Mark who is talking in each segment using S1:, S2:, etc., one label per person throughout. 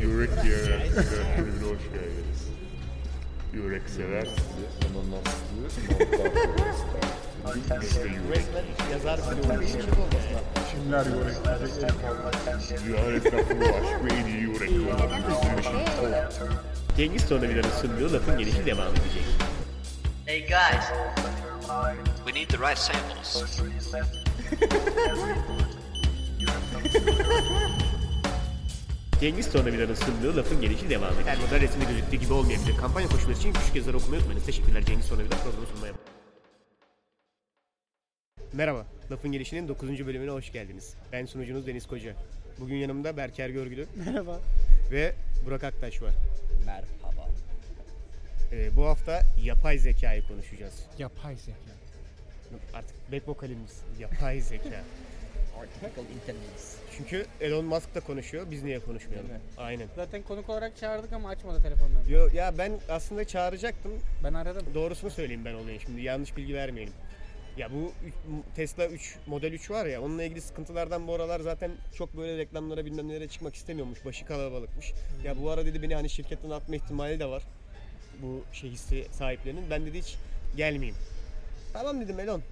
S1: Yürek diyerek Emre hoş geldiniz. Yürek sever sizi. Biz de yürek.
S2: Yazar bile olmuş.
S3: Kimler yönetleyecek el kalmak.
S1: Ziyaret lafı var ve en iyi yürek var. Bizim için
S2: Cengiz Tornavida'nın sunduğu lafın gelişi devam edecek.
S4: Hey guys,
S5: We need the right samples.
S2: Cengiz Tornavida'nın sunduğu lafın gelişi devam edecek. Her model resimde gözüktüğü gibi olmayabilir. Kampanya koşulları için küçük yazarı okumayı unutmayınız. Teşekkürler Cengiz Tornavida programı sunmaya. Merhaba, Lafın Gelişi'nin 9. bölümüne hoş geldiniz. Ben sunucunuz Deniz Koca. Bugün yanımda Berker Görgülü. Merhaba. Ve Burak Aktaş var.
S4: merhaba.
S2: Ee, bu hafta yapay zekayı konuşacağız.
S6: Yapay zeka.
S2: Artık back vokalimiz yapay zeka.
S4: Artificial intelligence.
S2: Çünkü Elon Musk da konuşuyor, biz niye konuşmayalım?
S4: Değil mi?
S2: Aynen.
S6: Zaten konuk olarak çağırdık ama açmadı telefonlarını.
S2: Yo, ya ben aslında çağıracaktım.
S6: Ben aradım.
S2: Doğrusunu söyleyeyim ben olayı şimdi. Yanlış bilgi vermeyelim. Ya bu üç- Tesla 3 Model 3 var ya onunla ilgili sıkıntılardan bu aralar zaten çok böyle reklamlara bilmem nelere çıkmak istemiyormuş. Başı kalabalıkmış. Ya bu ara dedi beni hani şirketten atma ihtimali de var. Bu şey hisse sahiplerinin. Ben dedi hiç gelmeyeyim. Tamam dedim Elon.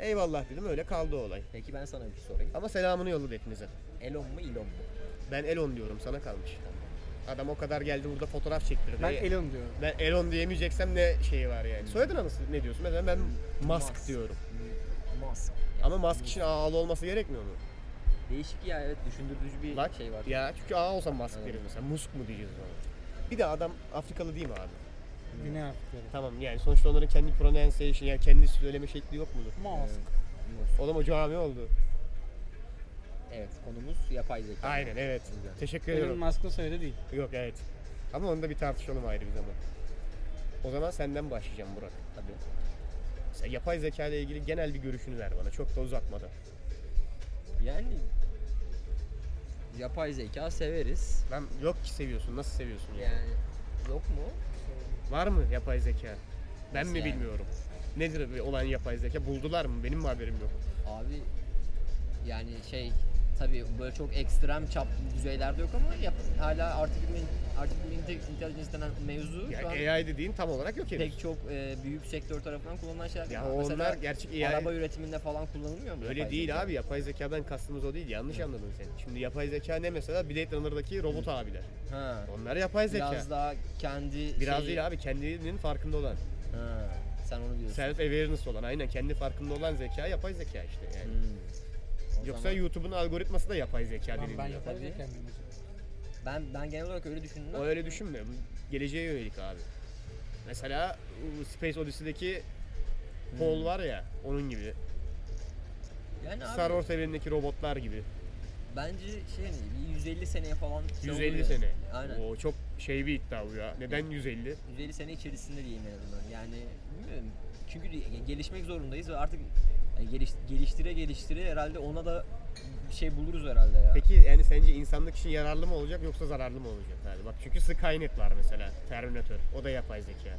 S2: Eyvallah dedim öyle kaldı o olay.
S4: Peki ben sana bir şey sorayım.
S2: Ama selamını yolladı hepinize.
S4: Elon mu Elon mu?
S2: Ben Elon diyorum sana kalmış. Adam o kadar geldi burada fotoğraf çektirdi.
S6: Ben Elon diyorum.
S2: Ben Elon diyemeyeceksem ne şeyi var yani. Soyadına nasıl ne diyorsun? Mesela ben Musk,
S4: Musk.
S2: diyorum.
S4: Musk.
S2: Ama Musk için ağalı olması gerekmiyor mu?
S4: Değişik ya evet düşündürücü bir
S2: Bak
S4: şey var.
S2: Ya çünkü ağa olsa Musk
S4: Evet.
S2: deriz mesela. Musk mu diyeceğiz ona? Bir de adam Afrikalı değil mi abi?
S6: Güney Afrika'da.
S2: Tamam yani sonuçta onların kendi pronunciation yani kendi söyleme şekli yok mudur?
S6: Musk.
S4: Musk.
S2: Oğlum o cami oldu.
S4: Evet konumuz yapay zeka.
S2: Aynen evet. Teşekkür
S6: Elon
S2: ediyorum.
S6: Musk'ın soyadı değil.
S2: Yok evet. Ama onu da bir tartışalım ayrı bir zaman. O zaman senden başlayacağım Burak.
S4: Tabii.
S2: Mesela yapay zeka ile ilgili genel bir görüşünü ver bana. Çok da uzatmadan.
S4: Yani yapay zeka severiz.
S2: Lan yok ki seviyorsun. Nasıl seviyorsun yani?
S4: Yani yok mu?
S2: Var mı yapay zeka? Ben
S4: Nasıl
S2: mi
S4: yani?
S2: bilmiyorum. Nedir bir olan yapay zeka? Buldular mı? Benim mi haberim yok?
S4: Abi yani şey tabii böyle çok ekstrem çap düzeylerde yok ama yap, hala artificial, artificial intelligence denen mevzu
S2: Ya
S4: şu an
S2: AI dediğin tam olarak yok henüz.
S4: pek çok e, büyük sektör tarafından kullanılan şeyler.
S2: Ya
S4: değil.
S2: onlar
S4: Mesela
S2: gerçek AI
S4: Araba üretiminde falan kullanılmıyor mu?
S2: Öyle
S4: yapay
S2: değil
S4: zeka?
S2: abi. Yapay zekadan kastımız o değil. Yanlış anladın sen. Şimdi yapay zeka ne mesela? Blade Runner'daki robot abiler.
S4: Ha.
S2: Onlar yapay zeka.
S4: Biraz
S2: Biraz,
S4: daha şey- kendi şeyi-
S2: değil abi. Kendinin farkında olan.
S4: Ha. Sen onu diyorsun.
S2: Self awareness olan. Aynen kendi farkında olan zeka yapay zeka işte yani.
S4: Hmm. O
S2: Yoksa
S4: zaman
S2: YouTube'un algoritması da yapay zeka
S6: Lan ben
S2: deniliyor.
S6: yapay
S4: Tabii.
S6: zekayım. benim.
S4: ben ben genel olarak öyle
S2: O
S4: düşündüm.
S2: öyle düşünme. Bu Geleceğe yönelik abi. Mesela bu Space Odyssey'deki Paul var ya onun gibi.
S4: Yani Hmm. abi
S2: Star Wars evrenindeki robotlar gibi.
S4: bence şey hani bir 150 seneye falan şey
S2: 150
S4: oluyor.
S2: sene.
S4: Aynen.
S2: O çok şey bir iddia bu ya. Neden 150?
S4: 150 sene içerisinde diyeyim en azından. Yani bilmiyorum. Çünkü gelişmek zorundayız ve artık yani geliş, geliştire geliştire herhalde ona da bir şey buluruz herhalde ya.
S2: Peki yani sence insanlık için yararlı mı olacak yoksa zararlı mı olacak? Yani bak çünkü Skynet var mesela. Terminator. O da yapay zeka.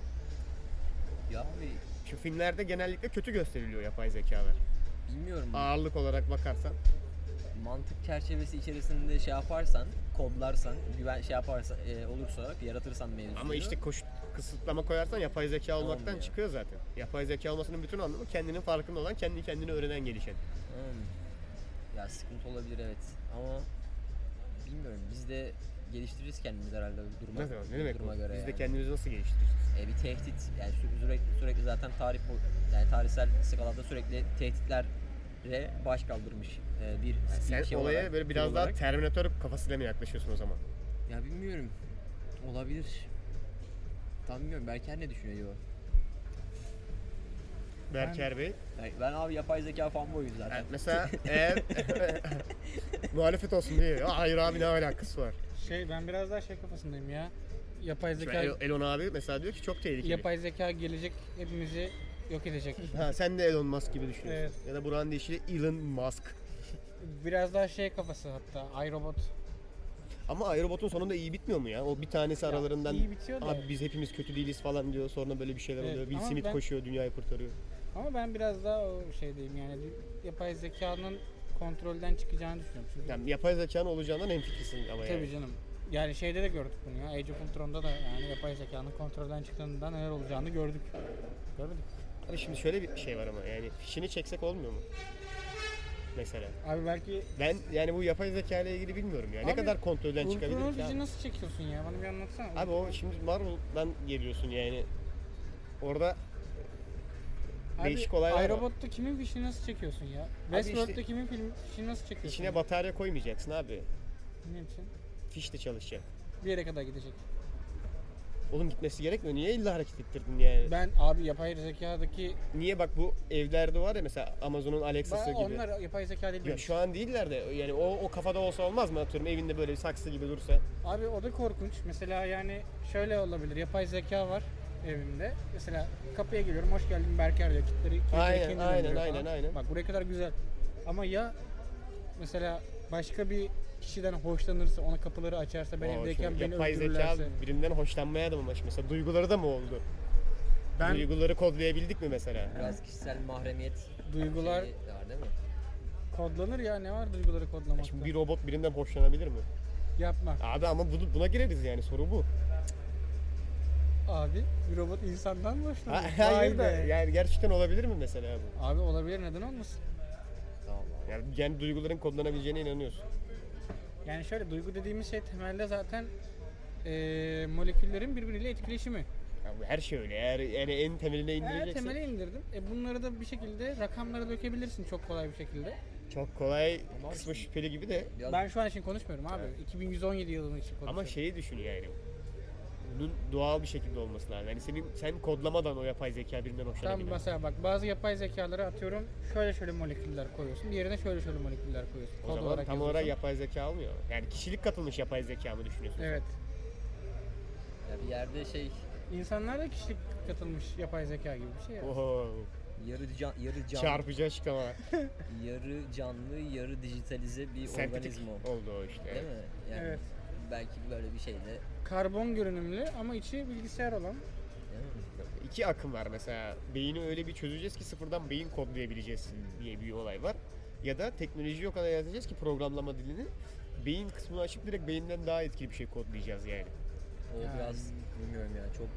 S4: Ya abi
S2: Şu filmlerde genellikle kötü gösteriliyor yapay zekalar.
S4: bilmiyorum.
S2: Ağırlık olarak bakarsan.
S4: mantık çerçevesi içerisinde şey yaparsan, kodlarsan, güven şey yaparsan e, olursa, yaratırsan mevzuyu.
S2: Ama işte koş, kısıtlama koyarsan yapay zeka olmaktan
S4: Olmuyor.
S2: çıkıyor zaten. Yapay zeka olmasının bütün anlamı kendinin farkında olan, kendi kendini öğrenen, gelişen.
S4: Hmm. Ya sıkıntı olabilir evet. Ama bilmiyorum. Biz de geliştiririz kendimiz herhalde bu duruma,
S2: Ne demek?
S4: bu
S2: Ne demek bu?
S4: duruma göre.
S2: Biz de
S4: yani.
S2: kendimizi nasıl geliştireceğiz?
S4: E, bir tehdit yani sü- sürekli sürekli zaten tarih bu yani tarihsel skalada sürekli tehditlere baş kaldırmış e, bir
S2: Yani sen
S4: şey
S2: olaya
S4: olarak,
S2: böyle
S4: kul
S2: biraz daha
S4: olarak.
S2: Terminator kafasıyla mı yaklaşıyorsun o zaman?
S4: ya bilmiyorum. Olabilir. Tam bilmiyorum. Berker ne düşünüyor acaba?
S2: Berker Bey.
S4: Yani ben abi yapay zeka fanboyuyum zaten.
S2: Yani mesela eğer muhalefet olsun diye. "Aa, Hayır abi ne alakası var?
S6: Şey ben biraz daha şey kafasındayım ya. Yapay
S2: Şimdi
S6: zeka
S2: El- Elon abi mesela diyor ki çok tehlikeli.
S6: yapay zeka gelecek hepimizi yok edecek.
S2: Ha, sen de Elon Musk gibi düşünüyorsun.
S6: Evet.
S2: Ya da buranın deyişiyle Elon Musk.
S6: biraz daha şey kafası hatta iRobot.
S2: Ama iRobot'un sonunda iyi bitmiyor mu ya? O bir tanesi
S6: Ya,
S2: aralarından
S6: iyi bitiyor da.
S2: abi biz hepimiz kötü değiliz falan diyor. Sonra böyle bir şeyler
S6: Evet,
S2: oluyor. Bill
S6: ama
S2: Smith
S6: ben-
S2: koşuyor, dünyayı kurtarıyor.
S6: Ama ben biraz daha o şeydeyim yani yapay zekanın kontrolden çıkacağını düşünüyorum. Çünkü
S2: Yani yapay zekanın olacağından en fikirsin ama yani.
S6: tabii canım. Yani şeyde de gördük bunu ya. Age of Ultron'da da yani yapay zekanın kontrolden çıktığında neler olacağını gördük. Gördük.
S2: Abi şimdi şöyle bir şey var ama yani fişini çeksek olmuyor mu? Mesela.
S6: Abi belki
S2: Ben yani bu yapay zeka ile ilgili bilmiyorum ya. ne
S6: Abi,
S2: kadar kontrolden
S6: Ultron'un
S2: çıkabilir ki?
S6: gücü
S2: abi?
S6: nasıl çekiyorsun ya? Bana bir anlatsana.
S2: Abi o şimdi Marvel'dan geliyorsun yani. Orada
S6: Abi,
S2: değişik olaylar var.
S6: iRobot'ta kimin fişini nasıl çekiyorsun ya? Westworld'da kimin film fişini nasıl çekiyorsun?
S2: içine
S6: ya?
S2: batarya koymayacaksın abi.
S6: Ne için?
S2: Fiş de çalışacak.
S6: Bir yere kadar gidecek.
S2: Oğlum gitmesi gerekmiyor. Niye illa hareket ettirdin yani?
S6: Ben abi yapay zekadaki
S2: Niye bak bu evlerde var ya mesela Amazon'un Alexa'sı
S6: Ba-
S2: gibi.
S6: onlar yapay zeka değil.
S2: Ya
S6: demiş.
S2: şu an değiller de yani o, o kafada olsa olmaz mı atıyorum evinde böyle bir saksı gibi dursa.
S6: Abi o da korkunç. Mesela yani şöyle olabilir. Yapay zeka var evimde. Mesela kapıya geliyorum. Hoş geldin Berker diyor. Kitleri, kilitleri
S2: Aynen,
S6: kendi
S2: aynen,
S6: döndürüyor
S2: aynen,
S6: falan.
S2: aynen.
S6: Bak buraya kadar güzel. Ama ya mesela başka bir kişiden hoşlanırsa, ona kapıları açarsa, ben
S2: Aa,
S6: evdeyken
S2: şimdi
S6: beni
S2: yapay
S6: öldürürlerse.
S2: zeka birinden hoşlanmaya da mı baş- mesela duyguları da mı oldu?
S6: Ben
S2: Duyguları kodlayabildik mi mesela?
S4: Biraz kişisel mahremiyet
S6: duygular
S4: şeyi var değil mi?
S6: kodlanır ya. Ne var duyguları
S2: Ya
S6: kodlamakta?
S2: Şimdi bir robot birinden hoşlanabilir mi?
S6: Yapma.
S2: Abi ama bunu, buna gireriz yani soru bu.
S6: Abi bir robot insandan mı
S2: Ha,
S6: hoşlanır?
S2: Hayır
S6: Vay
S2: da
S6: be.
S2: yani gerçekten olabilir mi mesela bu?
S6: Abi olabilir neden olmasın?
S2: Yani, yani duyguların kodlanabileceğine inanıyorsun.
S6: Yani şöyle duygu dediğimiz şey temelde zaten eee, moleküllerin birbiriyle etkileşimi.
S2: Ya bu her şey öyle. Eğer yani en temeline
S6: Eğer
S2: indireceksen.
S6: temele indirdim. E bunları da bir şekilde rakamlara dökebilirsin çok kolay bir şekilde.
S2: Çok kolay
S4: Ama
S2: kısmı
S4: şimdi-
S2: şüpheli gibi de.
S4: Biraz
S6: Ben şu an için konuşmuyorum abi.
S2: Evet.
S6: 2017 yılının için konuşuyorum.
S2: Ama şey şeyi düşün yani. Bunun doğal bir şekilde olması lazım. Yani senin sen kodlamadan o yapay zeka birinden
S6: Tam
S2: hoşlanabilir.
S6: mesela bak bazı yapay zekalara atıyorum şöyle şöyle moleküller koyuyorsun. Diğerine şöyle şöyle moleküller koyuyorsun.
S2: o zaman tam olarak yapay zeka olmuyor. Yani kişilik katılmış yapay zeka mı düşünüyorsun? sen?
S6: Evet.
S4: ya bir yerde şey
S6: İnsanlar da kişilik katılmış yapay zeka gibi bir şey ya.
S2: Oho,
S4: yarı can, yarı canlı,
S2: çarpıcı açıklama.
S4: yarı canlı, yarı dijitalize bir
S2: Sentetik
S4: organizma.
S2: oldu o işte.
S4: Değil mi? Yani
S6: Evet.
S4: belki böyle bir şey şeyle
S6: Karbon görünümlü ama içi bilgisayar olan.
S4: değil mi?
S2: İki akım var mesela. Beyni öyle bir çözeceğiz ki sıfırdan beyin kodlayabileceğiz diye bir olay var. Ya da teknolojiyi o kadar yazacağız ki programlama dilini beyin kısmını açıp direkt beyinden daha etkili bir şey kodlayacağız yani.
S4: O
S6: Yani.
S4: biraz bilmiyorum yani çok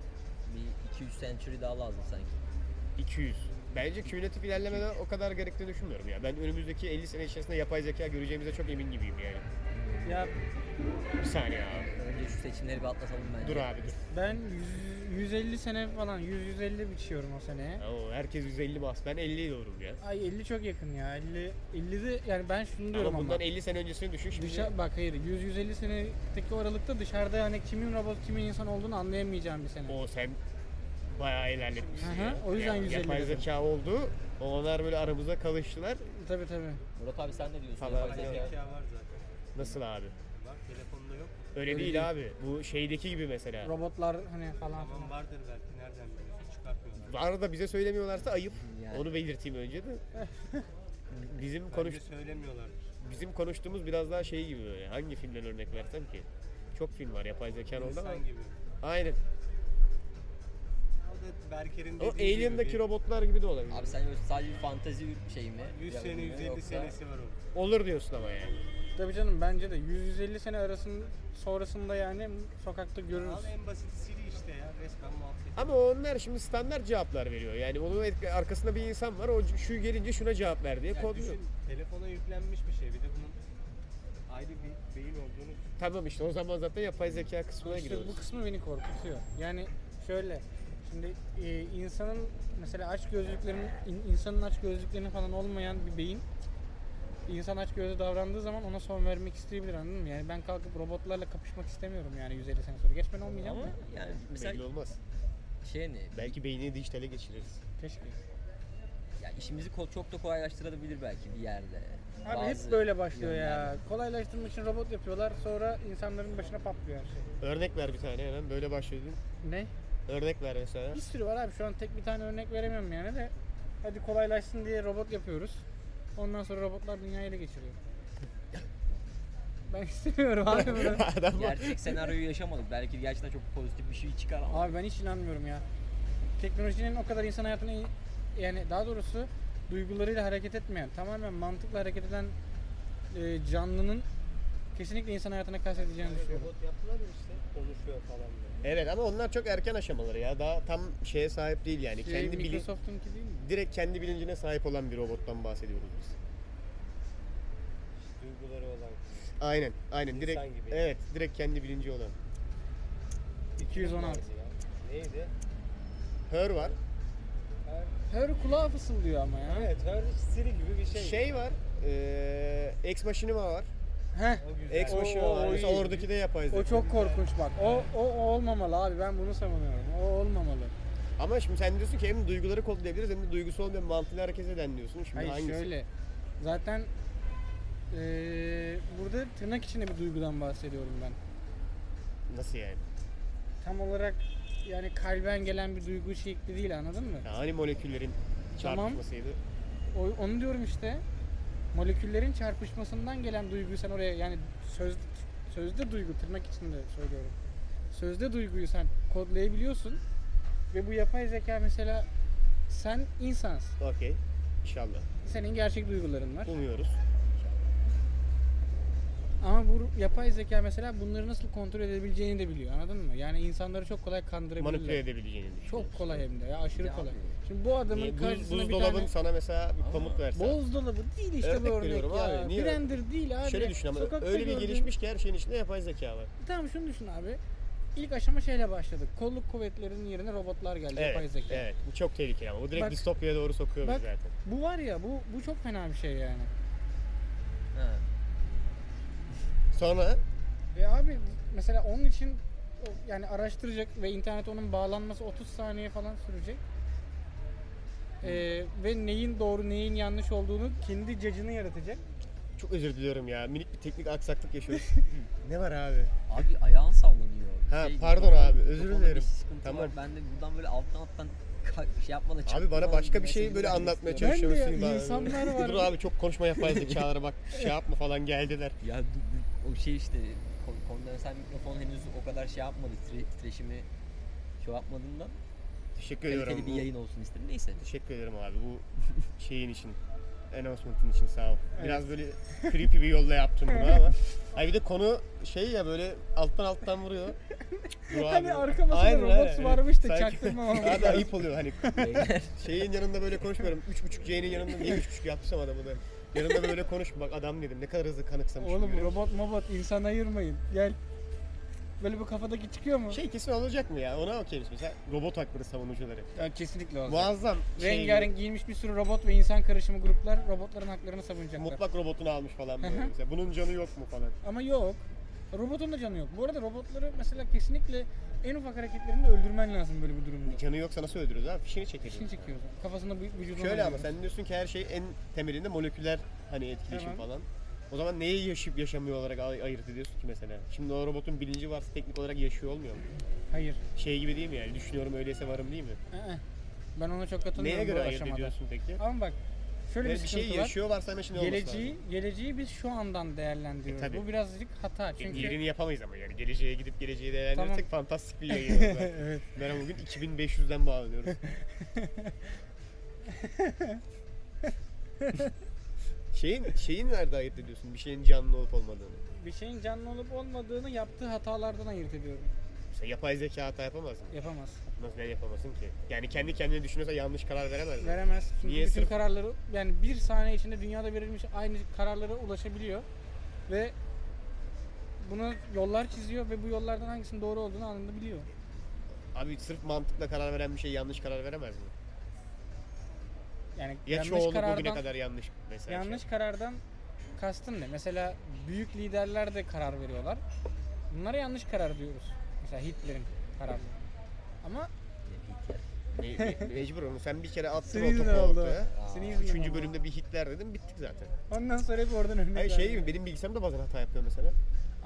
S4: bir 2-3 century daha lazım sanki.
S2: 200. Bence kümülatif ilerlemeden o kadar gerektiğini düşünmüyorum ya. Ben önümüzdeki 50 sene içerisinde yapay zeka göreceğimize çok emin gibiyim yani.
S6: Ya
S2: Bir saniye abi.
S4: Önce şu seçimleri bir atlatalım bence.
S2: Dur abi dur.
S6: ben 100 150 sene falan 100-150 biçiyorum o seneye.
S2: Oo, herkes 150 bas. Ben 50'ye doğrum ya.
S6: Ay 50 çok yakın ya. 50 50 de yani ben şunu diyorum
S2: Ama
S6: ama.
S2: bundan 50 sene öncesini düşün. Şimdi
S6: Dışa, bak hayır 100 150 senedeki o aralıkta dışarıda hani kimin robot kimin insan olduğunu anlayamayacağım bir sene.
S2: o sen bayağı ilerletmişsin
S6: Hı hı,
S2: ya.
S6: o yüzden
S2: Yani
S6: 150
S2: Yapay
S6: dedim.
S2: zeka oldu. Onlar böyle aramıza kalıştılar.
S6: Tabii tabii.
S4: Murat abi sen ne diyorsun?
S2: Tabii
S4: Yapay
S2: abi.
S4: zeka-
S7: Zeka var zaten.
S2: Nasıl abi?
S7: Var telefonda yok.
S2: Öyle,
S6: Öyle
S2: değil,
S6: değil.
S2: abi. Bu şeydeki gibi mesela.
S6: Robotlar hani falan
S7: Tamam
S6: filan.
S7: vardır belki nereden biliyorsun çıkartıyorsun.
S2: Var da bize söylemiyorlarsa ayıp.
S4: Yani.
S2: Onu belirteyim önce de.
S6: Eh.
S2: Bizim konuş
S7: Bence söylemiyorlardır.
S2: bizim konuştuğumuz biraz daha şey gibi böyle. Hangi filmden örnek versem ki? Çok film var yapay zekanın orada. ama-
S7: İnsan gibi.
S2: Aynen.
S7: O da Berker'in
S2: O
S7: dediği gibi
S2: Alien'daki
S7: bir
S2: robotlar gibi de olabilir.
S4: Abi sen sadece bir fantezi şey mi?
S7: 100 sene
S4: Yaratımı
S7: 150
S4: yoksa-
S7: senesi var onun.
S2: Olur diyorsun ama yani.
S6: Tabii canım bence de 100 150 sene arasın sonrasında yani sokakta görürüz.
S7: Al en basit Siri işte ya resmen muhabbet.
S2: Ama onlar şimdi standart cevaplar veriyor. Yani onun etk- arkasında bir insan var. O c- şu gelince şuna cevap ver diye
S7: Yani
S2: kodluyor.
S7: düşün telefona yüklenmiş bir şey bir de bunun ayrı bir beyin olduğunu
S2: Tamam işte o zaman zaten yapay zeka kısmına
S6: İşte
S2: giriyoruz.
S6: bu kısmı beni korkutuyor. Yani şöyle şimdi e, insanın mesela aç gözlüklerin in- insanın aç gözlüklerinin falan olmayan bir beyin insan aç gözlü davrandığı zaman ona son vermek isteyebilir anladın mı? Yani ben kalkıp robotlarla kapışmak istemiyorum yani 150 sene sonra. Geç ben olmayacağım
S4: Ama
S6: da.
S4: yani
S2: Belli
S4: mesela
S2: olmaz.
S4: şey ne?
S2: Belki beynini dijitale geçiririz.
S6: Keşke.
S4: Ya işimizi ko- çok da kolaylaştırabilir belki bir yerde.
S6: Abi
S4: Bazı
S6: hep böyle başlıyor ya.
S4: yönlerde.
S6: Kolaylaştırmak için robot yapıyorlar sonra insanların başına patlıyor her şey.
S2: Örnek ver bir tane hemen böyle başlıyordun.
S6: Ne?
S2: Örnek ver mesela.
S6: Bir sürü var abi şu an tek bir tane örnek veremiyorum yani de hadi kolaylaşsın diye robot yapıyoruz. Ondan sonra robotlar dünyayı ele geçiriyor. ben istemiyorum abi bunu.
S2: Adam
S4: Gerçek senaryoyu yaşamadık. Belki gerçekten çok pozitif bir şey çıkar ama.
S6: Abi ben hiç inanmıyorum ya. Teknolojinin o kadar insan hayatını yani daha doğrusu duygularıyla hareket etmeyen, tamamen mantıkla hareket eden e, canlının kesinlikle insan hayatına kastedeceğini düşünüyorum.
S7: Hani Robot yaptılar ya işte konuşuyor falan böyle.
S2: Evet ama onlar çok erken aşamaları ya. Daha tam şeye sahip değil yani.
S6: Şey,
S2: kendi bilin,
S6: Microsoft'unki değil mi?
S2: direkt kendi bilincine sahip olan bir robottan bahsediyoruz biz.
S7: Duyguları olan.
S2: Aynen, aynen direkt.
S7: İnsan gibi.
S2: Evet, direkt kendi bilinci olan.
S6: 216.
S7: ya. Neydi?
S2: Her var.
S7: Her,
S6: Her kulağa fısıldıyor ama ya.
S7: evet her Siri gibi bir şey.
S2: Şey, var. Eee Ex Machinima var.
S6: Heh.
S7: O güzel.
S2: Ex
S6: Oo,
S2: Machinima var.
S6: o
S2: Mesela
S6: iyi.
S2: oradaki de yapay zeka.
S6: O çok korkunç bak. O, o, o olmamalı abi ben bunu savunuyorum. O olmamalı.
S2: Ama şimdi sen diyorsun ki hem duyguları kodlayabiliriz hem de duygusu olmayan mantığıyla hareket eden diyorsun. Şimdi
S6: Hayır
S2: hangisi?
S6: şöyle. Zaten eee, burada tırnak içinde bir duygudan bahsediyorum ben.
S2: Nasıl yani?
S6: Tam olarak yani kalben gelen bir duygu şekli değil anladın mı?
S2: Ya hani moleküllerin
S6: Tamam.
S2: çarpışmasıydı.
S6: O, onu diyorum işte. Moleküllerin çarpışmasından gelen duyguyu sen oraya yani söz, sözde duygu tırnak içinde söylüyorum. Sözde duyguyu sen kodlayabiliyorsun ve bu yapay zeka mesela sen insansın.
S2: Okey. İnşallah.
S6: Senin gerçek duyguların var.
S2: Umuyoruz.
S6: Ama bu yapay zeka mesela bunları nasıl kontrol edebileceğini de biliyor anladın mı? Yani insanları çok kolay kandırabiliyor.
S2: Manipüle edebileceğini düşünüyorum.
S6: Çok kolay hem de ya aşırı kolay. Şimdi bu adamın
S2: Niye? Buz,
S6: karşısına bir
S2: buzdolabın
S6: tane...
S2: sana mesela bir komut verse.
S6: Buzdolabı değil işte
S2: Örnek
S6: bu örnek
S2: veriyorum
S6: ya.
S2: abi, niye?
S6: Blender değil abi.
S2: Şöyle düşün ama
S6: Sokakta
S2: öyle bir
S6: gördüğün-
S2: gelişmiş ki her şeyin içinde yapay zeka var.
S6: Tamam şunu düşün abi. İlk aşama şeyle başladık. Kolluk kuvvetlerinin yerine robotlar geldi yapay
S2: Evet,
S6: zeka.
S2: evet. Bu çok tehlikeli ama. Bu direkt
S6: Bak-
S2: distopyaya doğru sokuyor bizi
S6: Bak
S2: zaten.
S6: bu var ya bu bu çok fena bir şey yani.
S4: Ha.
S2: Sonra
S6: Ve abi mesela onun için o- yani araştıracak ve internete onun bağlanması 30 saniye falan sürecek. Ee, ve neyin doğru neyin yanlış olduğunu kendi cacını yaratacak.
S2: çok özür diliyorum ya. Minik bir teknik aksaklık yaşıyoruz. ne var abi?
S4: Abi ayağın sallanıyor. Şey
S2: Ha, pardon
S4: kafam-
S2: abi, özür
S4: kafamda
S2: dilerim.
S4: bir sıkıntı
S2: Tamam.
S4: var. Ben de buradan böyle alttan alttan ka- şey yapmadan
S2: Abi bana
S4: çıkmadan
S2: başka bir
S4: mesajı
S2: şeyi böyle
S4: vermek
S2: anlatmaya
S4: istiyorum.
S2: çalışıyorsun.
S6: Ben de ya,
S2: bana.
S6: insanlar var.
S2: Dur abi çok konuşma yapay zekalara bak. Şey yapma falan geldiler.
S4: Ya du- du- o şey işte kon- kondenser mikrofon henüz o kadar şey yapmadı. Titreşimi titreşimi şey yapmadığından
S2: Teşekkür ediyorum.
S4: kaliteli bir
S2: Bu-
S4: yayın olsun istedim. Neyse.
S2: Teşekkür ederim abi bu şeyin için. Announcement'ın için sağ ol. Biraz böyle creepy bir yolla yaptım bunu ama. Ay bir de konu şey ya böyle alttan alttan vuruyor. Dur abi.
S6: Hani arka masada
S2: Aynen,
S6: robot
S2: aynen.
S6: varmış da
S2: Sanki-
S6: çaktırmamam
S2: Abi ayıp oluyor hani
S4: Beyler,
S2: şeyin yanında böyle konuşmuyorum. 3.5C'nin yanında niye 3.5 yaptıysam adamı da. Yanında böyle konuş bak adam dedim ne kadar hızlı kanıksamış.
S6: Oğlum
S2: bilmiyorum.
S6: robot mobot insan ayırmayın. Gel. Böyle bu kafadaki çıkıyor mu?
S2: Şey kesin olacak mı ya ona okeyiz mesela robot hakları savunucuları.
S6: Ya kesinlikle olacak.
S2: Muazzam şey
S6: Rengarenk giyinmiş bir sürü robot ve insan karışımı gruplar robotların haklarını savunacaklar.
S2: mutlak robotunu almış falan böyle
S6: Hı hı.
S2: mesela bunun canı yok mu falan.
S6: Ama yok. Robotun da canı yok. Bu arada robotları mesela kesinlikle en ufak hareketlerinde öldürmen lazım böyle bir durumda.
S2: Canı yoksa nasıl öldürürüz abi fişini çekeriz.
S6: Fişini çekiyorsun. Kafasında vü- vücuduna.
S2: Şöyle ama
S6: vuruyorsun.
S2: sen diyorsun ki her şey en temelinde moleküler hani etkileşim
S6: Tamam.
S2: falan. O zaman neyi yaşayıp yaşamıyor olarak ay- ayırt ediyorsun ki mesela? Şimdi o robotun bilinci varsa teknik olarak yaşıyor olmuyor mu?
S6: Hayır.
S2: Şey gibi değil mi yani? Düşünüyorum öyleyse varım değil mi?
S6: I-ı. Ben ona çok katılmıyorum
S2: Neye göre
S6: bu
S2: ayırt
S6: aşamada.
S2: ediyorsun peki?
S6: Ama bak şöyle
S2: Yani
S6: bir
S2: bir
S6: sıkıntı
S2: şey yaşıyor varsa hemen şimdi
S6: var.
S2: olması
S6: Geleceği, geleceği biz şu andan değerlendiriyoruz.
S2: E, tabii.
S6: Bu birazcık hata
S2: lazım. E,
S6: çünkü.
S2: Yerini yapamayız ama yani geleceğe gidip geleceği değerlendirirsek fantastik bir yayın olur. evet. Ben bugün 2500'den bağlanıyoruz. şeyin şeyin nerede ayırt ediyorsun? Bir şeyin canlı olup olmadığını.
S6: Bir şeyin canlı olup olmadığını yaptığı hatalardan ayırt ediyorum.
S2: Mesela yapay zeka hata yapamaz mı?
S6: Yapamaz.
S2: Nasıl ne yapamasın ki? Yani kendi kendine düşünüyorsa yanlış karar veremez mi?
S6: Veremez. Çünkü
S2: Niye
S6: bütün
S2: sırf-
S6: kararları yani bir saniye içinde dünyada verilmiş aynı kararlara ulaşabiliyor ve buna yollar çiziyor ve bu yollardan hangisinin doğru olduğunu anında biliyor.
S2: Abi sırf mantıkla karar veren bir şey yanlış karar veremez mi?
S6: Yani
S2: Ya
S6: yanlış
S2: çoğunluk
S6: karardan
S2: bugüne kadar yanlış mesela.
S6: yanlış
S2: şey.
S6: karardan kastın ne? Mesela büyük liderler de karar veriyorlar. Bunlara yanlış karar diyoruz. Mesela Hitler'in kararı. Ama
S2: Me- me- mecbur onu. Sen bir kere attın o
S6: senin
S2: topu
S6: yüzünden oldu.
S2: ortaya.
S6: Senin yüzünden
S2: Üçüncü
S6: oldu.
S2: bölümde bir Hitler dedim bittik zaten.
S6: Ondan sonra hep oradan örnek
S2: Hayır şey
S6: verdim.
S2: gibi benim bilgisayarım da bazen hata yapıyor mesela.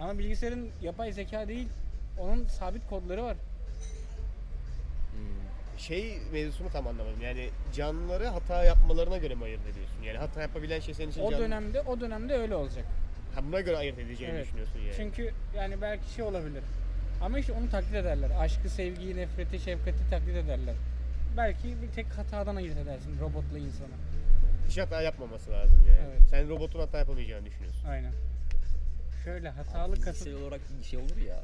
S6: Ama bilgisayarın yapay zeka değil. Onun sabit kodları var.
S4: Hmm.
S2: Şey mevzusunu tam anlamadım yani canlıları hata yapmalarına göre mi ayırt ediyorsun? Yani hata yapabilen şey senin için
S6: O
S2: canlı.
S6: dönemde o dönemde öyle olacak.
S2: Ha, buna göre ayırt edeceğini
S6: Evet.
S2: düşünüyorsun yani.
S6: Çünkü yani belki şey olabilir. Ama işte onu taklit ederler. Aşkı, sevgiyi, nefreti, şefkati taklit ederler. Belki bir tek hatadan ayırt edersin robotla insanı.
S2: Hiç hata yapmaması lazım yani.
S6: Evet.
S2: Sen robotun hata yapamayacağını düşünüyorsun.
S6: Aynen. şöyle hatalı kasıt
S4: Fiziksel olarak bir şey olur ya.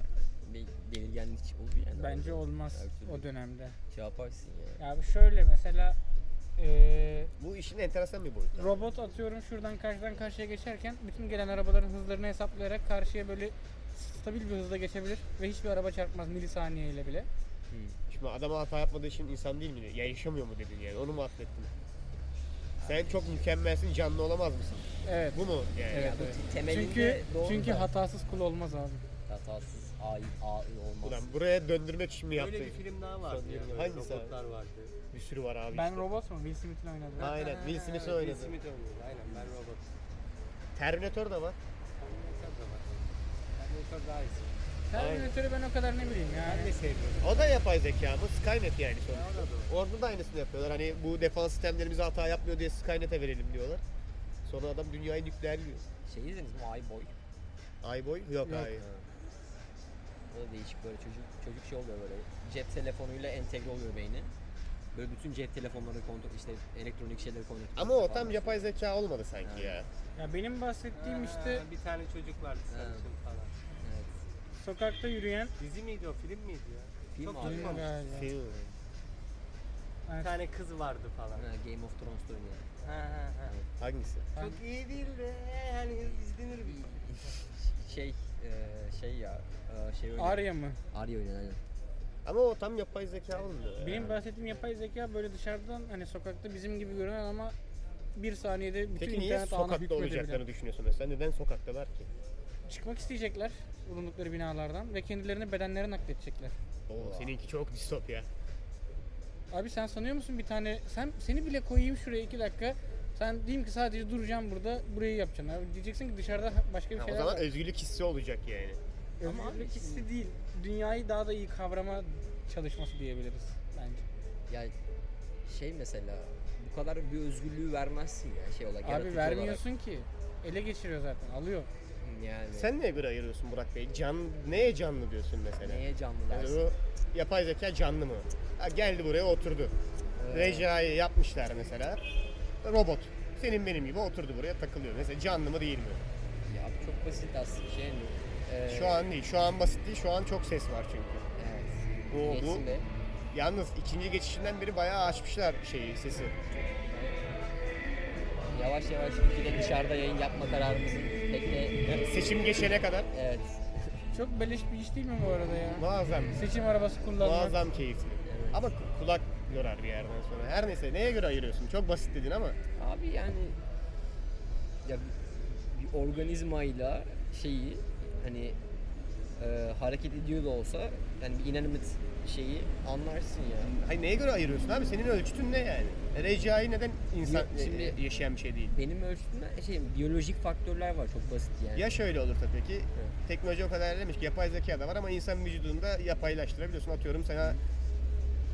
S4: Bir belirgenlik olur yani.
S6: bence olmaz
S4: Her türlü
S6: o dönemde.
S4: Şey yaparsın ya.
S6: Ya bu şöyle mesela eee,
S2: Bu işin enteresan bir boyutu.
S6: robot atıyorum şuradan karşıdan karşıya geçerken bütün gelen arabaların hızlarını hesaplayarak karşıya böyle stabil bir hızla geçebilir ve hiçbir araba çarpmaz milisaniye ile bile.
S2: Şimdi adama hata yapmadığı için insan değil mi? Ya yaşamıyor mu dedin yani? Onu mu affettin? Sen çok mükemmelsin, canlı olamaz mısın?
S6: Evet.
S2: Bu mu yani?
S6: Evet,
S4: bu
S6: evet.
S4: temelinde
S6: Çünkü
S4: doğru
S6: çünkü
S4: da.
S6: hatasız kul olmaz abi.
S4: Hatasız AI, AI olmaz.
S2: Ulan buraya döndürmek için mi yaptın?
S7: Böyle bir film daha vardı ya. böyle
S2: Hangisi abi?
S7: Robotlar vardı.
S2: Bir sürü var abi
S6: Ben
S2: işte.
S6: robot mu? Will Smith'in oynadığı.
S2: Aynen, Will
S7: Ha,
S2: Smith'i oynadı.
S7: Will Smith oynuyordu aynen ben robot.
S2: Terminator da var.
S7: Terminator da var. Terminator daha iyisi.
S6: Terminator'ı ben o kadar ne bileyim ya.
S7: Ben de sevmiyorum.
S2: O da yapay zeka mı? Skynet yani
S7: Ben
S2: sonuçta.
S7: ona da
S2: Orada da aynısını yapıyorlar. Hani bu defans sistemlerimize hata yapmıyor diye Skynet'e verelim diyorlar. Sonra adam dünyayı nükleerliyor.
S4: Şey izlediniz mi? Ay boy.
S2: Ayboy? Yok, Yok. ay.
S4: O da değişik böyle çocuk çocuk şey oluyor böyle cep telefonuyla entegre oluyor beyni. Böyle bütün cep telefonları kontrol işte elektronik şeyleri kontrol.
S2: Ama o tam yapay zeka olmadı sanki ya.
S6: Ya benim bahsettiğim işte
S7: bir tane çocuk vardı sarışın falan.
S4: Evet.
S6: sokakta yürüyen
S7: Dizi miydi o film miydi ya?
S4: Film
S7: Çok
S4: abi.
S7: duymamış.
S6: galiba.
S2: Film.
S7: Bir
S4: Şey-
S7: tane kız vardı falan.
S4: Ha, Game of Thrones'ta oynuyor.
S7: Ha, ha, ha.
S2: Hangisi?
S7: Çok iyi değil de hani izlenir bir şey.
S4: Şey e, şey ya e, şey oynuyor.
S6: Arya mı?
S4: Arya oynuyor aynen.
S2: Ama o tam yapay zeka olmuyor. ya.
S6: Benim bahsettiğim yapay zeka böyle dışarıdan hani sokakta bizim gibi görünen ama bir saniyede bütün
S2: Peki niye
S6: internet ağına
S2: sokakta
S6: hükmedebilen.
S2: olacaklarını düşünüyorsun mesela? Neden sokaktalar ki?
S6: Çıkmak isteyecekler bulundukları binalardan ve kendilerini bedenlere nakledecekler.
S2: Oo, seninki çok distopya.
S6: Abi sen sanıyor musun bir tane sen seni bile koyayım şuraya iki dakika. Sen diyeyim ki sadece duracağım burada burayı yapacaksın. Abi diyeceksin ki dışarıda başka bir
S2: Ha, o
S6: şeyler
S2: zaman
S6: var.
S2: özgürlük hissi olacak yani.
S6: Ama abi ikisi değil. Dünyayı daha da iyi kavrama çalışması diyebiliriz bence.
S4: Ya şey mesela bu kadar bir özgürlüğü vermezsin ya şey olarak. yaratıcı
S6: Abi vermiyorsun ki. Ele geçiriyor zaten alıyor.
S4: Olarak. Yani.
S2: Sen neye göre ayırıyorsun Burak Bey? Can, neye canlı diyorsun mesela?
S4: neye canlı
S2: Yani
S4: dersin?
S2: bu yapay zeka canlı mı? Ha, geldi buraya oturdu. Reja'yı yapmışlar mesela. Robot. Senin benim gibi oturdu buraya takılıyor. Mesela canlı mı değil mi?
S4: Ya abi çok basit aslında şey mi? E,
S2: Şu an değil. Şu an basit değil. Şu an çok ses var çünkü.
S4: Evet.
S2: Bu- bu-
S4: Geçsin be.
S2: Yalnız ikinci geçişinden beri bayağı açmışlar şeyi sesi.
S4: Yavaş yavaş bir de dışarıda yayın yapma kararımızın pek de
S2: Yani seçim geçene kadar
S4: evet.
S6: Çok beleş bir iş değil mi bu arada ya?
S2: muazzam.
S6: Seçim arabası kullanmak.
S2: Muazzam keyifli. Ama ku- kulak yorar bir yerden sonra. Her neyse neye göre ayırıyorsun? Çok basit dedin ama.
S4: Abi yani ya bir, bir organizmayla şeyi hani e, hareket ediyor da olsa yani bir inanimit şeyi anlarsın ya.
S2: Hayır neye göre ayırıyorsun abi? Senin ölçütün ne yani? Recai neden insan
S4: Ya- şimdi-
S2: e, yaşayan bir şey değil?
S4: Benim ölçtüğümde şey biyolojik faktörler var çok basit yani.
S2: Ya şöyle olur tabii ki. Teknoloji o kadar ilerlemiş ki yapay zeka da var ama insan vücudunda yapaylaştırabiliyorsun. Atıyorum sana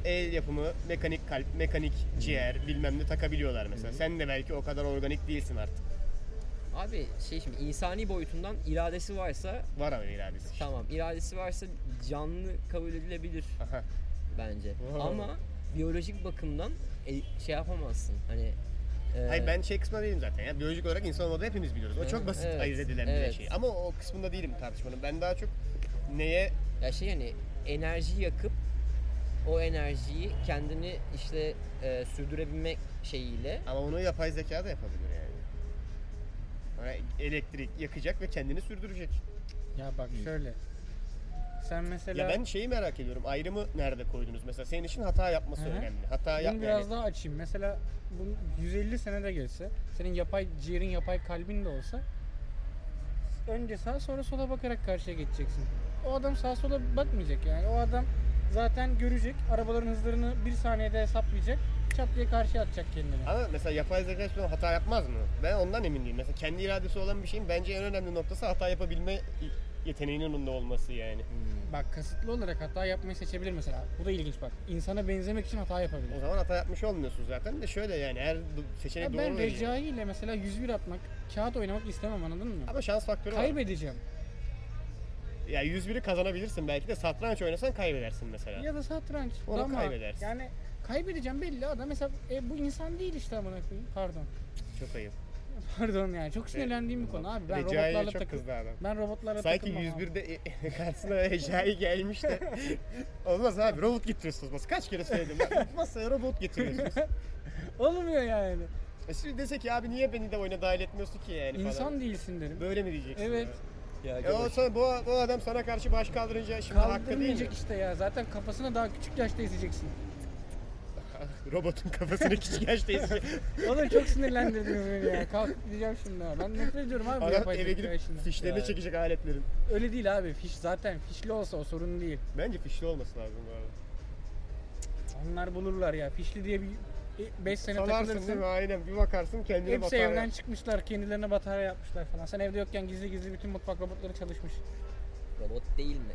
S2: el yapımı mekanik kalp, mekanik ciğer bilmem ne takabiliyorlar mesela. Sen de belki o kadar organik değilsin artık.
S4: Abi şey şimdi insani boyutundan iradesi varsa
S2: Var ama iradesi.
S4: tamam iradesi varsa canlı kabul edilebilir.
S2: Aha.
S4: bence.
S2: Wow.
S4: Ama biyolojik bakımdan e, şey yapamazsın. Hani e,
S2: Hayır ben şey kısmında değilim zaten ya. Biyolojik olarak insan olmadığı hepimiz biliyoruz. O çok
S4: Evet,
S2: basit
S4: evet,
S2: ayırt edilen bir
S4: evet.
S2: şey. Ama o kısmında değilim tartışmanın. Ben daha çok neye
S4: ya şey hani enerji yakıp o enerjiyi kendini işte e, sürdürebilmek şeyiyle
S2: ama onu yapay zeka da yapabilir yani. Yani elektrik yakacak ve kendini sürdürecek.
S6: Ya bak şöyle. Sen mesela
S2: Ya ben şeyi merak ediyorum. Ayrımı nerede koydunuz? Mesela senin için hata yapması
S6: Hı hı.
S2: önemli. Hata
S6: bunu
S2: yap
S6: biraz
S2: yani.
S6: daha açayım. Mesela bu 150 sene de geçse, senin yapay ciğerin yapay kalbin de olsa önce sağa sonra sola bakarak karşıya geçeceksin. O adam sağa sola bakmayacak yani. O adam zaten görecek, arabaların hızlarını bir saniyede hesaplayacak, çat diye karşıya atacak kendini.
S2: Ama mesela yapay zeka hiçbir zaman hata yapmaz mı? Ben ondan emin değilim. Mesela kendi iradesi olan bir şeyin bence en önemli noktası hata yapabilme yeteneğinin onun da olması yani.
S6: Bak kasıtlı olarak hata yapmayı seçebilir mesela. Bu da ilginç bak. İnsana benzemek için hata yapabilir.
S2: O zaman hata yapmış olmuyorsun zaten de şöyle yani her du- seçenek
S6: Ya
S2: doğru
S6: ben
S2: değil.
S6: Recai ile mesela 101 atmak, kağıt oynamak istemem anladın mı?
S2: Ama şans faktörü var.
S6: Kaybedeceğim.
S2: Ya 101'i kazanabilirsin belki de satranç oynasan kaybedersin mesela.
S6: Ya da satranç.
S2: Onu
S6: dama.
S2: kaybedersin.
S6: Yani kaybedeceğim belli adam. Mesela e, bu insan değil işte amına koyayım. Pardon.
S2: Çok ayıp.
S6: Pardon yani çok sinirlendiğim bir konu abi. Ben
S2: Recai'ye
S6: robotlarla
S2: E, çok
S6: takıl.
S2: kızdı adam.
S6: Ben robotlara
S2: Sanki
S6: takılmam abi.
S2: 101'de e- karşısına Recai gelmiş de olmaz abi robot getiriyorsunuz. Bas kaç kere söyledim. ya, Masaya robot getiriyorsunuz.
S6: Olmuyor yani.
S2: E şimdi dese ki abi niye beni de oyuna dahil etmiyorsun ki yani falan.
S6: İnsan değilsin derim.
S2: Böyle mi diyeceksin?
S6: Evet.
S4: Ya,
S2: Ya? E o, sana- bu, bu adam sana karşı baş kaldırınca şimdi hakkı değil mi?
S6: Kaldırmayacak işte ya. Zaten kafasına daha küçük yaşta ezeceksin.
S2: Robotun kafasını küçük yaşta eski.
S6: O da çok sinirlendirdiniz beni ya. Kalk diyeceğim şimdi ha. Ben nefret ediyorum abi bu
S2: Adam
S6: yapay
S2: eve
S6: zeka
S2: gidip
S6: işinden.
S2: fişlerini
S4: Ya.
S2: çekecek aletlerin.
S6: Öyle değil abi. Fiş zaten fişli olsa o sorun değil.
S2: Bence fişli olması lazım bu arada.
S6: Onlar bulurlar ya. Fişli diye bir 5 sene
S2: Salarsın değil
S6: takılırsın.
S2: mi? Aynen bir bakarsın kendine
S6: Hepsi
S2: batar.
S6: evden çıkmışlar, kendilerine batarya yapmışlar falan. Sen evde yokken gizli gizli bütün mutfak robotları çalışmış.
S4: Robot değil mi?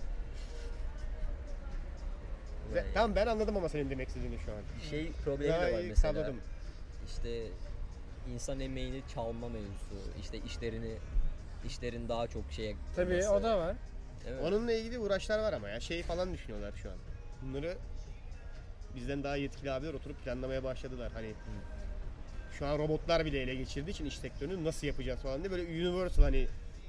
S2: Ze- Tamam ben anladım ama senin demek istediğini şu an.
S4: Şey problemi
S2: Daha
S4: de var
S2: iyi
S4: mesela.
S2: kavradım.
S4: İşte insan emeğini çalma mevzusu, işte işlerini işlerin daha çok şeye
S6: Tabii
S4: kırması.
S6: o da var.
S4: Evet.
S2: Onunla ilgili uğraşlar var ama ya şey falan düşünüyorlar şu an. Bunları bizden daha yetkili abiler oturup planlamaya başladılar. Hani şu an robotlar bile ele geçirdiği için iş sektörünü nasıl yapacağız falan diye böyle universal hani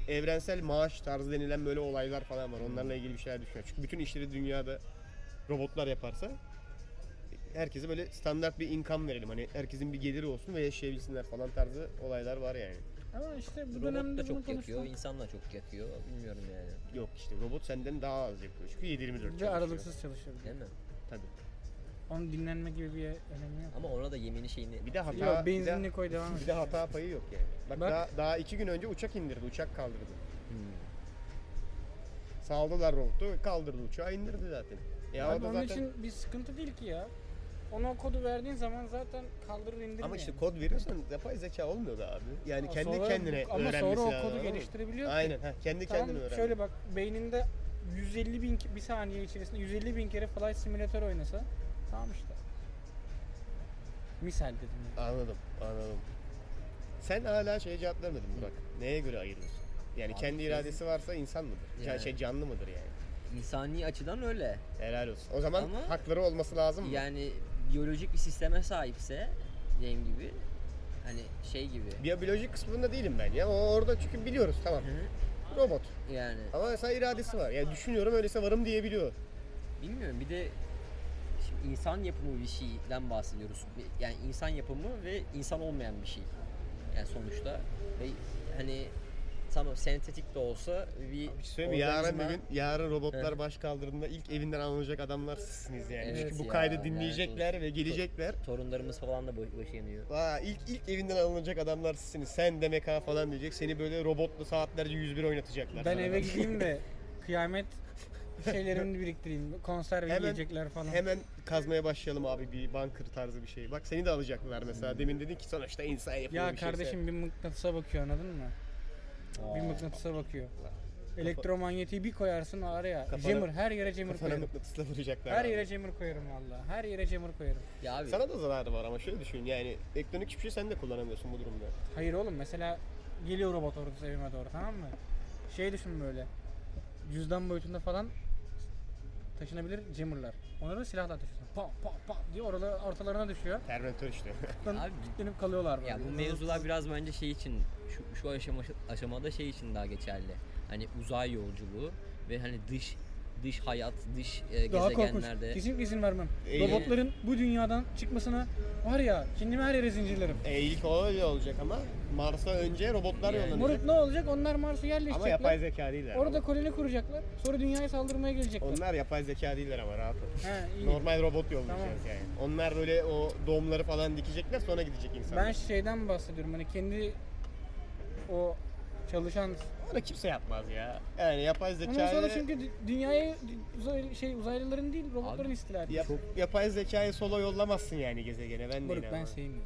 S2: evrensel maaş tarzı denilen böyle olaylar falan var. Onlarla ilgili bir şeyler düşünüyor. Çünkü bütün işleri dünyada robotlar yaparsa herkese böyle standart bir income verelim. Hani herkesin bir geliri olsun ve yaşayabilsinler falan tarzı olaylar var yani.
S6: Ama işte bu
S4: Robot da
S6: dönemde bunu
S4: çok yakıyor,
S6: konuştuk.
S4: insan da çok yakıyor. Bilmiyorum yani.
S2: Yok işte robot senden daha az yapıyor. Çünkü 7-24
S6: Ve
S2: çalışıyor.
S6: aralıksız çalışıyor. bir de.
S4: Değil mi?
S2: Tabii.
S6: Onun dinlenme gibi bir önemi yok.
S4: Ama ona da yemini şeyini
S2: Bir de hata,
S6: Yok
S2: bir de-
S6: benzinli koy devam
S2: Bir
S6: et.
S2: de hata payı yok yani. Bak,
S6: Bak.
S2: Daha, daha iki gün önce uçak indirdi, uçak kaldırdı. Hmm. Sağladılar robotu, kaldırdı uçağı, indirdi zaten. Ya
S6: Abi onun için bir sıkıntı değil ki ya. Ona o kodu verdiğin zaman zaten kaldırır indirir
S2: ama işte
S6: yani.
S2: kod veriyorsan yapay zeka olmuyor da abi. Yani
S6: Ama
S2: kendi
S6: sonra-
S2: kendine
S6: Ama
S2: öğrenmesi
S6: sonra o
S2: lazım,
S6: kodu
S2: anladın mı?
S6: geliştirebiliyor ki.
S2: Aynen, ha, kendi
S6: Tamam,
S2: kendine öğren.
S6: şöyle bak beyninde 150 bin ke- bir saniye içerisinde 150 bin kere Flight Simulator oynasa tamam işte. Misal dedim. yani.
S2: Anladım, anladım. Sen hala şeye cevap vermedin Burak. Neye göre ayırıyorsun? Yani
S4: Abi
S2: kendi
S6: şey-
S4: sen-
S2: iradesi varsa insan mıdır? Can-
S4: Yani.
S2: Şey canlı mıdır yani?
S4: insani açıdan öyle.
S2: Helal olsun. O zaman
S4: Ama-
S2: hakları olması lazım mı?
S4: Yani biyolojik bir sisteme sahipse dediğim gibi hani şey gibi
S2: Biyolojik kısmında değilim ben ya. O orada çünkü biliyoruz tamam. Robot.
S4: yani
S2: Ama mesela iradesi var. Yani düşünüyorum öyleyse varım diyebiliyor.
S4: bilmiyorum bir de şimdi insan yapımı bir şeyden bahsediyoruz. Bir- Yani insan yapımı ve insan olmayan bir şey. Yani sonuçta ve hani tamam sentetik de olsa bir
S2: Bir şey söyleyeyim mi? Yarın
S4: organizma-
S2: bir gün yarın robotlar
S4: Heh.
S2: baş kaldırdığında ilk evinden alınacak adamlar sizsiniz yani.
S4: Evet
S2: çünkü bu
S4: ya,
S2: kaydı
S4: lanet
S2: dinleyecekler ve gelecekler.
S4: torunlarımız falan da baş- başı yanıyor.
S2: Aa, ilk ilk evinden alınacak adamlar sizsiniz. Sen demek ha falan diyecek. Seni böyle robotla saatlerce 101 oynatacaklar.
S6: Ben
S2: sana.
S6: eve gideyim de kıyamet şeylerini biriktireyim. Konserve
S2: Hemen-
S6: yiyecekler falan.
S2: Hemen kazmaya başlayalım abi bir bunker tarzı bir şey. Bak seni de alacaklar mesela. Demin dedin ki sonuçta insan yapımı
S6: ya
S2: bir şey şeyse.
S6: kardeşim bir mıknatısa bakıyor anladın mı? Bir mıknatısa bakıyor. Elektromanyetiği bir koyarsın araya.
S2: Kafana-
S6: Cemur her yere cemur
S2: Kafana
S6: koyarım.
S2: mıknatısla vuracaklar.
S6: Her
S2: abi.
S6: yere cemur koyarım valla. Her yere cemur koyarım.
S4: Ya abi
S2: Sana da zararı var ama şöyle düşün yani elektronik hiçbir şey sen de kullanamıyorsun bu durumda.
S6: Hayır oğlum mesela geliyor robot ordusu evime doğru tamam mı? Şey düşün böyle. Cüzdan boyutunda falan taşınabilir cemurlar. Onları da silahla taşıyorsun. Pa pa pa diye orada ortalarına düşüyor.
S2: Terminatör işte.
S4: Abi-
S6: Kitlenip, kitlenip kalıyorlar böyle.
S4: Ya bu mevzular biraz bence şey için şu, şu aşama, aşamada şey için daha geçerli. Hani uzay yolculuğu ve hani dış dış hayat, dış e,
S6: daha korkunç.
S4: gezegenlerde
S6: Kesinlikle izin vermem.
S2: Ee,
S6: Robotların bu dünyadan çıkmasına var ya kendimi her yere zincirlerim.
S2: E ilk o öyle olacak ama Mars'a önce robotlar
S4: Yani.
S2: yollanacak.
S6: Moruk ne olacak? Onlar Mars'a
S2: Ama yapay
S6: yerleşecekler.
S2: zeka değiller.
S6: Orada
S2: ama.
S6: koloni kuracaklar. Sonra dünyaya saldırmaya gelecekler.
S2: Onlar yapay zeka değiller ama rahat ol.
S6: He, iyi.
S2: Normal robot yollayacağız yani. Onlar böyle o doğumları falan dikecekler sonra gidecek insanlar.
S6: Ben şeyden bahsediyorum hani kendi o çalışan
S2: Onu kimse yapmaz ya. Yani yapay
S6: Ondan sonra
S2: zekayı
S6: çünkü dü- dünyayı dü- uzay, şey uzaylıların değil robotların
S4: Abi,
S6: istila ediyor.
S2: yap- yapay zekayı solo yollamazsın yani gezegene ben de
S6: Moruk ben şey-
S2: inanmam.
S6: sevmiyorum.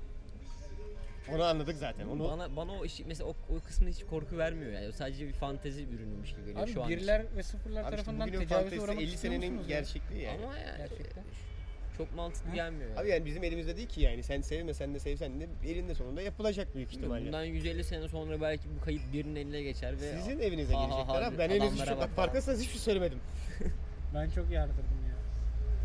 S2: Onu anladık zaten. Onu
S4: bana bana o işi mesela o, o kısmı hiç korku vermiyor yani. O sadece bir fantezi ürünüymüş gibi geliyor
S6: Abi
S4: şu an. için.
S6: birler ve sıfırlar
S2: Abi işte
S6: tarafından
S2: bugünün
S6: tecavüze
S2: fantezisi
S6: uğramak
S2: 50
S6: istiyor
S2: senenin
S6: musunuz ya?
S2: gerçekten yani.
S4: Ama yani e,
S6: Gerçekten.
S4: çok mantıklı
S6: Ha?
S4: gelmiyor. yani.
S2: Abi yani bizim elimizde değil ki yani. Sen sevmesen de sevsen de elinde sonunda yapılacak büyük ihtimalle.
S4: Bundan 150 sene sonra belki bu kayıt birinin eline geçer ve
S2: Sizin evinize
S4: Aha,
S2: gelecekler
S4: aha,
S2: abi. Ben henüz hiç
S4: adamlara
S2: bak
S4: bak
S2: farkındaysanız hiçbir şey söylemedim.
S6: Ben çok yardırdım ya.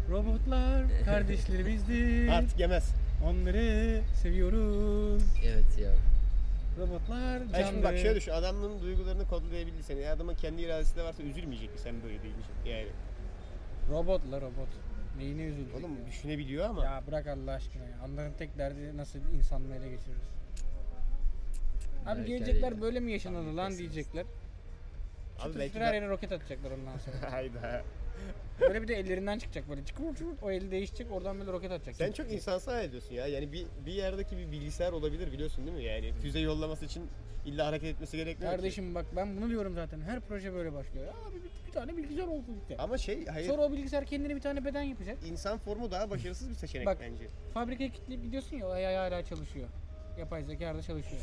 S6: Robotlar kardeşlerimizdir.
S2: Artık yemez.
S6: Onları seviyoruz.
S4: evet ya.
S6: Robotlar
S2: Yani şimdi
S6: canlı.
S2: bak şöyle düşün, adamın duygularını kodlayabildiysen, eğer adamın kendi iradesi de varsa üzülmeyecek mi sen böyle deyince? Yani
S6: Robot la robot. Neyine üzülecek?
S2: oğlum şey
S6: ya?
S2: düşünebiliyor ama.
S6: Ya bırak Allah aşkına ya. Onların tek derdi nasıl insanları ele geçiririz. Abi
S4: Belki
S6: gelecekler
S4: öyle
S6: böyle mi yaşanıldı
S4: tahmin
S6: lan
S4: etmezsiniz.
S6: diyecekler.
S2: Abi
S6: Çıtır
S2: belki
S6: her
S2: de...
S6: yere roket atacaklar ondan sonra.
S2: Hayda.
S6: böyle bir de ellerinden çıkacak böyle. Çıkır çıkır o el değişecek oradan böyle roket atacak.
S2: Sen çok insansı hayal ediyorsun ya. Yani bir, bir yerdeki bir bilgisayar olabilir biliyorsun değil mi? Yani füze yollaması için illa hareket etmesi gerekmiyor ki.
S6: Kardeşim bak ben bunu diyorum zaten. Her proje böyle başlıyor. Abi bir, bir tane bilgisayar olsun işte.
S2: Ama şey hayır
S6: Sonra o bilgisayar kendine bir tane beden yapacak.
S2: insan formu daha başarısız bir seçenek
S6: Bak.
S2: bence.
S6: Fabrikaya kilitleyip gidiyorsun ya o AI hala çalışıyor. Yapay zeka hala çalışıyor.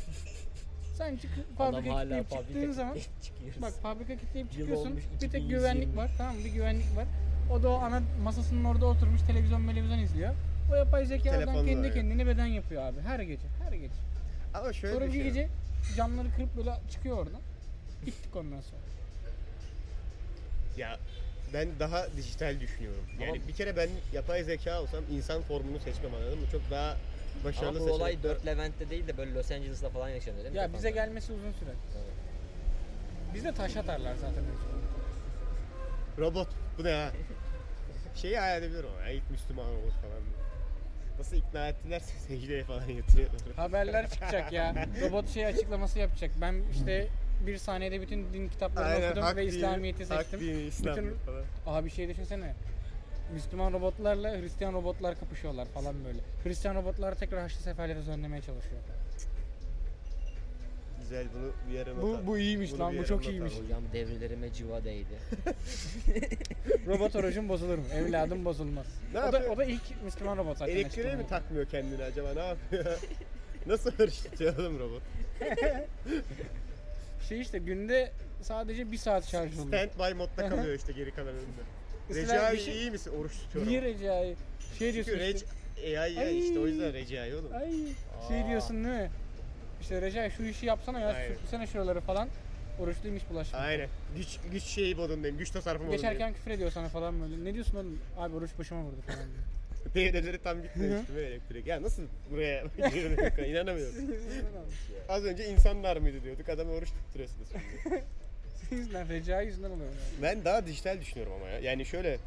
S6: Sen çık
S4: Adam
S6: fabrikaya
S4: hala
S6: kilitleyip çıktığın
S4: fabrika
S6: zaman
S4: çıkıyoruz.
S6: bak fabrika kilitleyip
S4: Yıl
S6: çıkıyorsun
S4: olmuş
S6: bir tek
S4: 2120.
S6: güvenlik var tamam mı? bir güvenlik var. O da o ana masasının orada oturmuş televizyon televizyon izliyor. O yapay zekadan
S2: Telefonla
S6: kendi
S2: yani.
S6: kendine beden yapıyor abi her gece her gece.
S2: Ama şöyle
S6: Sonra bir
S2: düşün.
S6: gece camları kırıp böyle çıkıyor oradan. Bittik ondan sonra.
S2: Ya ben daha dijital düşünüyorum. Yani
S4: Ama-
S2: bir kere ben yapay zeka olsam insan formunu seçmem anladın mı? Çok daha başarılı
S4: Ama bu
S2: seçenekler-
S4: olay 4 Levent'te değil de böyle Los Angeles'ta falan yaşanıyor değil mi?
S6: Ya
S4: Kafanda?
S6: bize gelmesi uzun sürer.
S4: Evet.
S6: Biz de taş atarlar zaten.
S2: Robot bu ne ha? Şeyi hayal edebilirim ama ya ilk Müslüman robot falan. Nasıl ikna ettilerse secdeye falan yatırıyorlar.
S6: Haberler çıkacak ya. Robot şey açıklaması yapacak. Ben işte bir saniyede bütün din kitaplarını okudum ve İslamiyet'i seçtim.
S2: Hak dini, İslam
S6: Bütün-
S2: falan.
S6: Abi şey düşünsene. Müslüman robotlarla Hristiyan robotlar kapışıyorlar falan böyle. Hristiyan robotlar tekrar Haçlı Seferleri önlemeye çalışıyor.
S2: Güzel bunu bir yere not al.
S6: Bu, bu iyiymiş
S2: Bunu bir
S6: lan bu
S2: yere
S6: çok
S2: not al.
S6: iyiymiş.
S4: Hocam devrilerime civa değdi.
S6: Robot orucun bozulur mu? Evladım bozulmaz.
S2: Ne
S6: o, da,
S2: yapıyor?
S6: o da ilk Müslüman robot zaten.
S2: Elektriğe mi
S6: açıklamayı.
S2: takmıyor kendini acaba ne yapıyor? Nasıl hırçlıyor oğlum robot?
S6: Şey işte günde sadece bir saat şarj oluyor.
S2: Stand by modda kalıyor işte geri kalanında.
S6: Mesela
S2: Recai
S6: bir şey-
S2: iyi misin? Oruç tutuyor.
S6: Niye
S2: Niye
S6: Recai? Şey diyorsun
S2: Çünkü
S6: işte,
S2: Rec... AI ya işte o yüzden Recai oğlum.
S6: Ay şey diyorsun değil mi? İşte Recai şu işi yapsana ya,
S2: Aynen.
S6: sürtsene şuraları falan. Oruçluymuş bulaşma.
S2: Aynen. Güç güç şeyi modundayım. Güç tasarrufu modundayım.
S6: Geçerken küfür ediyor sana falan böyle. Ne diyorsun oğlum? Abi oruç başıma vurdu falan. diyor.
S2: Devreleri tam gitmemişti böyle elektrik. Ya nasıl buraya girdik? İnanamıyorum. Az önce insanlar mıydı diyorduk. Adamı oruç tutturuyorsunuz şimdi.
S6: Sizin yüzünden, Recai yüzünden oluyor. yani.
S2: ben daha dijital düşünüyorum ama ya. Yani şöyle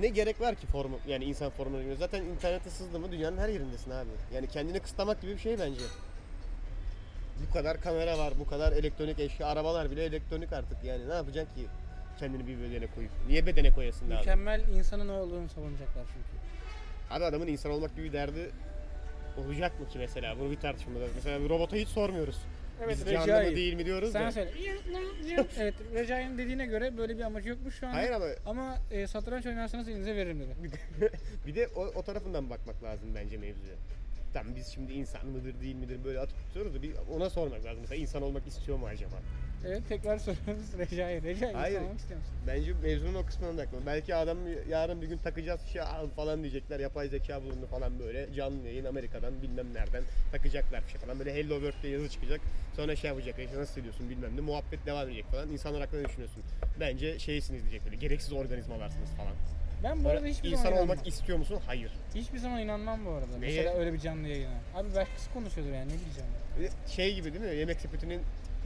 S2: ne gerek var ki formu yani insan formuna girmeye? Zaten internete sızdı mı dünyanın her yerindesin abi. Yani kendini kısıtlamak gibi bir şey bence. Bu kadar kamera var, bu kadar elektronik eşya, arabalar bile elektronik artık. Yani ne yapacaksın ki kendini bir bedene koyup? Niye bedene koyasın abi?
S6: Mükemmel insanın o olduğunu savunacaklar çünkü.
S2: Abi adamın insan olmak gibi bir derdi olacak mı ki mesela? Bunu bir tartışmada. Mesela bir robota hiç sormuyoruz.
S6: Evet,
S2: Biz
S6: Recai.
S2: canlı mı değil mi diyoruz
S6: Sen
S2: da.
S6: söyle. evet Recai'nin dediğine göre böyle bir amacı yokmuş şu an.
S2: Hayır ama
S6: Ama e, satranç oynarsanız elinize veririm dedi.
S2: bir de o, o tarafından bakmak lazım bence mevzuya. Tam biz şimdi insan mıdır değil midir böyle atıp tutuyoruz da bir ona sormak lazım. Mesela insan olmak istiyor mu acaba?
S6: Evet tekrar soruyoruz Recai. Recai
S2: Hayır.
S6: Hayır. istiyor musun?
S2: Bence mevzunun o kısmına bakma. Belki adam yarın bir gün takacağız şey "Aa" falan diyecekler. Yapay zeka bulundu falan böyle. Canlı yayın Amerika'dan bilmem nereden takacaklar bir şey falan. Böyle Hello World diye yazı çıkacak. Sonra şey yapacak. işte nasıl hissediyorsun bilmem ne. Muhabbet devam edecek falan. İnsanlar hakkında ne düşünüyorsun. Bence şeysiniz diyecek böyle. Gereksiz organizmalarsınız falan.
S6: Ben bu
S2: Sonra
S6: arada hiçbir
S2: insan
S6: zaman
S2: olmak
S6: inanmam.
S2: istiyor musun? Hayır.
S6: Hiçbir zaman inanmam bu arada.
S2: Neye?
S6: Mesela öyle bir canlı yayına. Abi başkası konuşuyordur yani ne diyeceğim.
S2: Ve Şey gibi değil mi? Yemek sepetinin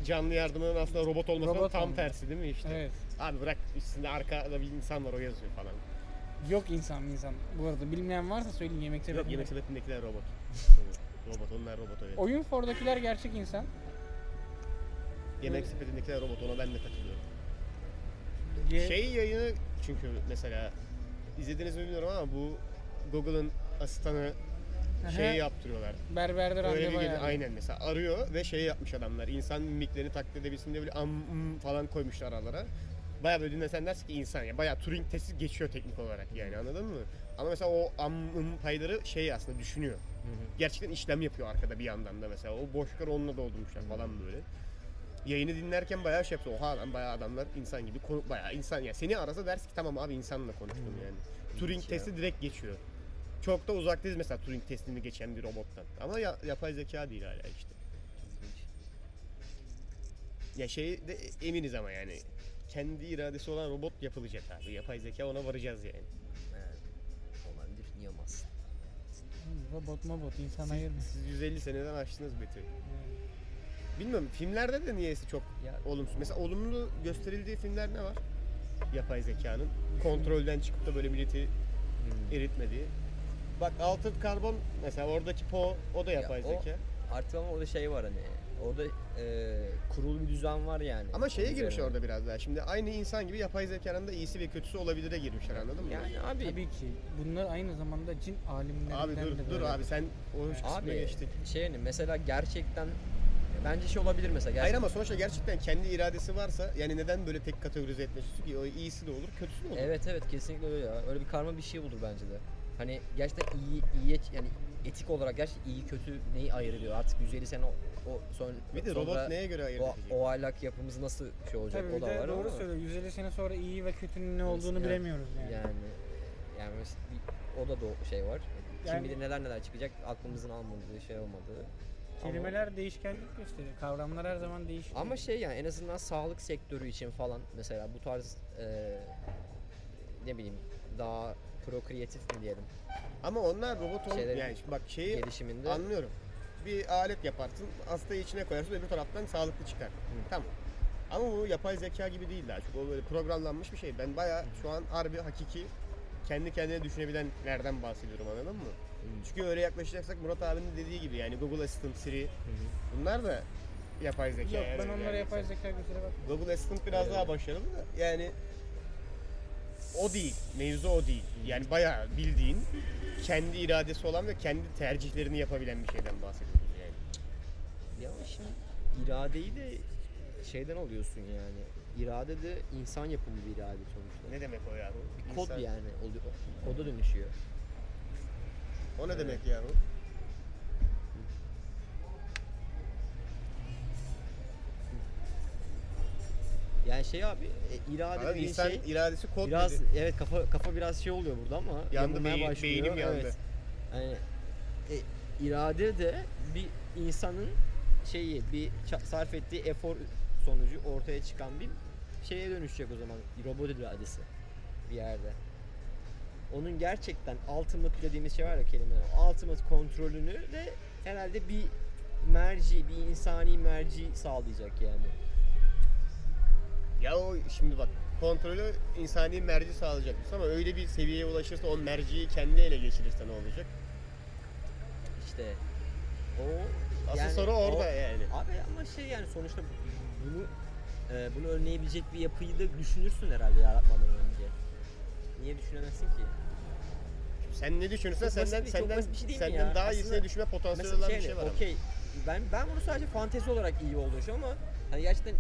S2: canlı yardımının aslında robot olmasının
S6: Robot
S2: tam
S6: olması.
S2: tersi değil mi işte?
S6: Evet.
S2: Abi bırak üstünde arkada bir insan var o yazıyor falan.
S6: Şey Yok insan insan. Bu arada bilmeyen varsa söyleyin yemek
S2: Yok
S6: sebebini.
S2: yemek sepetindekiler robot. robot onlar robot öyle.
S6: Oyun fordakiler gerçek insan.
S2: Yemek sepetindekiler robot ona ben de katılıyorum.
S6: Ge-
S2: Şey yayını çünkü mesela izlediniz mi bilmiyorum ama bu Google'ın asistanı
S6: Aha.
S2: şey yaptırıyorlar.
S6: Berberde
S2: Böyle bir
S6: randevu
S2: gece
S6: ayarlıyor.
S2: aynen mesela arıyor ve şey yapmış adamlar. İnsan mimiklerini taklit edebilsin diye böyle am mm falan koymuş aralara. Bayağı böyle dinlesen dersin ki insan ya. Bayağı Turing testi geçiyor teknik olarak yani anladın mı? Ama mesela o am mm payları şey aslında düşünüyor. Gerçekten işlem yapıyor arkada bir yandan da mesela. O boşlukları onunla doldurmuşlar falan böyle. Yayını dinlerken bayağı şey yaptı. Oha lan bayağı adamlar insan gibi konu bayağı insan ya. Seni arasa dersin ki tamam abi insanla konuştum yani. Turing testi direkt geçiyor çok da uzaktayız mesela Turing testini geçen bir robottan. Ama ya- yapay zeka değil hala işte. Ya şey de eminiz ama yani kendi iradesi olan robot yapılacak abi. Yapay zeka ona varacağız yani.
S4: Olabilir, niye olmaz?
S6: Hı, Baba bot ma bot insan ayırmaz.
S2: Siz 150 seneden aştınız beti. Bilmiyorum filmlerde de niyeyse çok
S4: Ya-
S2: olumsuz. Mesela olumlu gösterildiği filmler ne var? Yapay zekanın kontrolden çıkıp da böyle milleti
S4: Hmm.
S2: eritmediği. Bak Altered Carbon mesela oradaki Po o da yapay
S4: o-
S2: zeka.
S4: Artık ama orada şey var hani. Orada e, kurulu bir düzen var yani.
S2: Ama şeye
S4: Onun
S2: girmiş
S4: üzerine.
S2: orada biraz daha. Şimdi aynı insan gibi yapay zekanın da iyisi ve kötüsü olabilire girmişler anladın mı?
S4: Yani abi,
S6: Tabii ki. Bunlar aynı zamanda cin alimlerinden
S2: Abi dur
S6: de
S2: dur
S6: böyle.
S2: abi sen o hoş kısmına
S4: abi
S2: geçtik.
S4: şey hani mesela gerçekten bence şey olabilir mesela.
S2: Hayır
S4: Gerçekten,
S2: ama sonuçta gerçekten kendi iradesi varsa yani neden böyle tek kategorize etmesi ki o iyisi de olur kötüsü de olur.
S4: Evet evet kesinlikle öyle ya. Öyle bir karma bir şey bulur bence de. Hani gerçekten iyi iyiye yani etik olarak gerçekten iyi kötü neyi ayırıyor artık 150 sene o, o son
S2: Bir de
S4: sonra
S2: robot neye göre ayırt
S4: o,
S2: edecek?
S4: o ahlak yapımız nasıl şey olacak
S6: Tabii bir
S4: o da
S6: de
S4: var
S6: doğru
S4: ama
S6: söylüyor. 150 sene sonra iyi ve kötünün ne
S4: Evet,
S6: olduğunu
S4: yani-
S6: bilemiyoruz yani.
S4: yani yani mes- bir- o da doğ- şey var.
S6: Yani-
S4: Kim bilir neler neler çıkacak aklımızın almadığı şey olmadığı.
S6: Kelimeler değişkenlik gösteriyor. Kavramlar her zaman değişiyor.
S4: Ama şey yani en azından sağlık sektörü için falan mesela bu tarz eee ne bileyim daha prokreatif mi diyelim
S2: Ama onlar robot ol
S4: Şeylerin
S2: yani şimdi bak şeyi
S4: gelişiminde
S2: anlıyorum. Bir alet yaparsın, hastayı içine koyarsın, öbür taraftan sağlıklı çıkar. Tamam. Ama bu yapay zeka gibi değil daha çok. O böyle programlanmış bir şey. Ben bayağı şu an harbi hakiki kendi kendine düşünebilenlerden bahsediyorum anladın mı? Çünkü öyle yaklaşacaksak Murat abinin dediği gibi yani Google Assistant, Siri bunlar da yapay zeka.
S6: Yok
S2: yani.
S6: ben onlara
S2: Yani
S6: yapay zeka götüre bak.
S2: Google Assistant biraz daha başarılı da yani o değil. Mevzu o değil. Yani bayağı bildiğin kendi iradesi olan ve kendi tercihlerini yapabilen bir şeyden bahsediyoruz yani.
S4: Ya ama şimdi iradeyi de şeyden alıyorsun yani. İrade de insan yapımı bir irade sonuçta.
S2: Ne demek o ya?
S4: Bir kod
S2: İnsan-
S4: yani oluyor. Koda dönüşüyor.
S2: O ne demek ya?
S4: Yani şey abi e, irade
S2: Abi
S4: dediğin
S2: insan
S4: şey
S2: iradesi kod
S4: biraz
S2: dedi.
S4: evet kafa kafa biraz şey oluyor burada ama
S2: Yandı
S4: yanılmaya
S2: beyin-
S4: başlıyor.
S2: beynim yandı.
S4: Evet. Yani e, irade de bir insanın şeyi bir ça- sarf ettiği efor sonucu ortaya çıkan bir şeye dönüşecek o zaman robot iradesi bir yerde. Onun gerçekten ultimate dediğimiz şey var ya kelime. o Ultimate kontrolünü de herhalde bir merci, bir insani merci sağlayacak yani.
S2: Ya o şimdi bak kontrolü insani merci sağlayacakmış ama öyle bir seviyeye ulaşırsa o merciyi kendi ele geçirirse ne olacak?
S4: İşte o
S2: Asıl
S4: yani
S2: soru
S4: o-
S2: orada yani.
S4: Abi ama şey yani sonuçta bunu e, bunu önleyebilecek bir yapıyı da düşünürsün herhalde yaratmadan önce. Niye düşünemezsin ki?
S2: Sen ne düşünürsen
S4: Çok basit
S2: senden
S4: bir- çok
S2: senden
S4: basit bir şey değil mi
S2: senden
S4: ya?
S2: daha iyisine
S4: Aslında-
S2: düşme potansiyeli
S4: Mesela
S2: olan
S4: şey,
S2: bir şey var. ama.
S4: okey ben ben bunu sadece fantezi olarak iyi olduğu şey ama hani gerçekten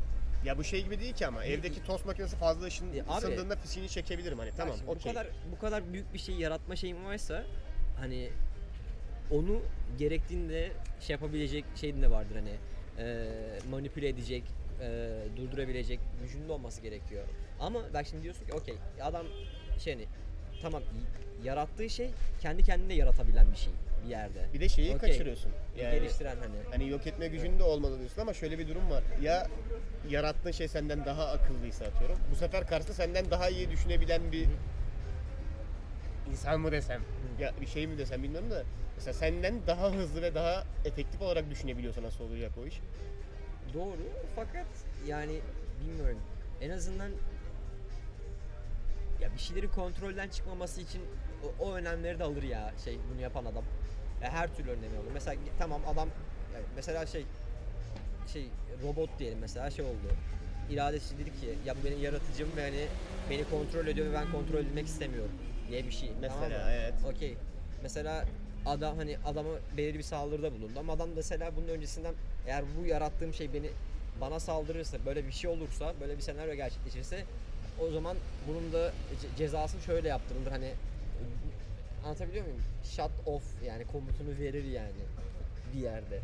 S2: Ya bu şey gibi değil ki ama evdeki tost makinesi fazla ışın,
S4: E, abi-
S2: ısındığında fişini çekebilirim hani tamam
S4: şimdi
S2: okey.
S4: Bu kadar bu kadar büyük bir şey yaratma şeyim varsa hani onu gerektiğinde şey yapabilecek şeyin de vardır hani e, manipüle edecek, e, durdurabilecek gücünde olması gerekiyor. Ama bak şimdi diyorsun ki okey adam şey hani tamam y- yarattığı şey kendi kendine yaratabilen bir şey bir yerde.
S2: Bir de şeyi
S4: Okey.
S2: kaçırıyorsun. Yani
S4: Geliştiren hani.
S2: hani yok etme gücün de olmalı diyorsun ama şöyle bir durum var. Ya yarattığın şey senden daha akıllıysa atıyorum. Bu sefer karşısında senden daha iyi düşünebilen bir insan mı desem ya bir şey mi desem bilmiyorum da mesela senden daha hızlı ve daha efektif olarak düşünebiliyorsa nasıl olacak o iş?
S4: Doğru fakat yani bilmiyorum. En azından ya bir şeylerin kontrolden çıkmaması için o, o önlemleri de alır ya şey bunu yapan adam. Ya her türlü önlemi alır. Mesela tamam adam yani mesela şey şey robot diyelim mesela şey oldu. İradesi dedi ki ya bu benim yaratıcım ve hani beni kontrol ediyor ve ben kontrol edilmek istemiyorum diye bir şey. tamam mı?
S2: Mesela, evet.
S4: Okey. Mesela adam hani adamı belirli bir saldırıda bulundu ama adam mesela bunun öncesinden eğer bu yarattığım şey beni bana saldırırsa böyle bir şey olursa böyle bir senaryo gerçekleşirse o zaman bunun da ce- cezası şöyle yaptırılır hani anlatabiliyor muyum? Shut off yani komutunu verir yani bir yerde.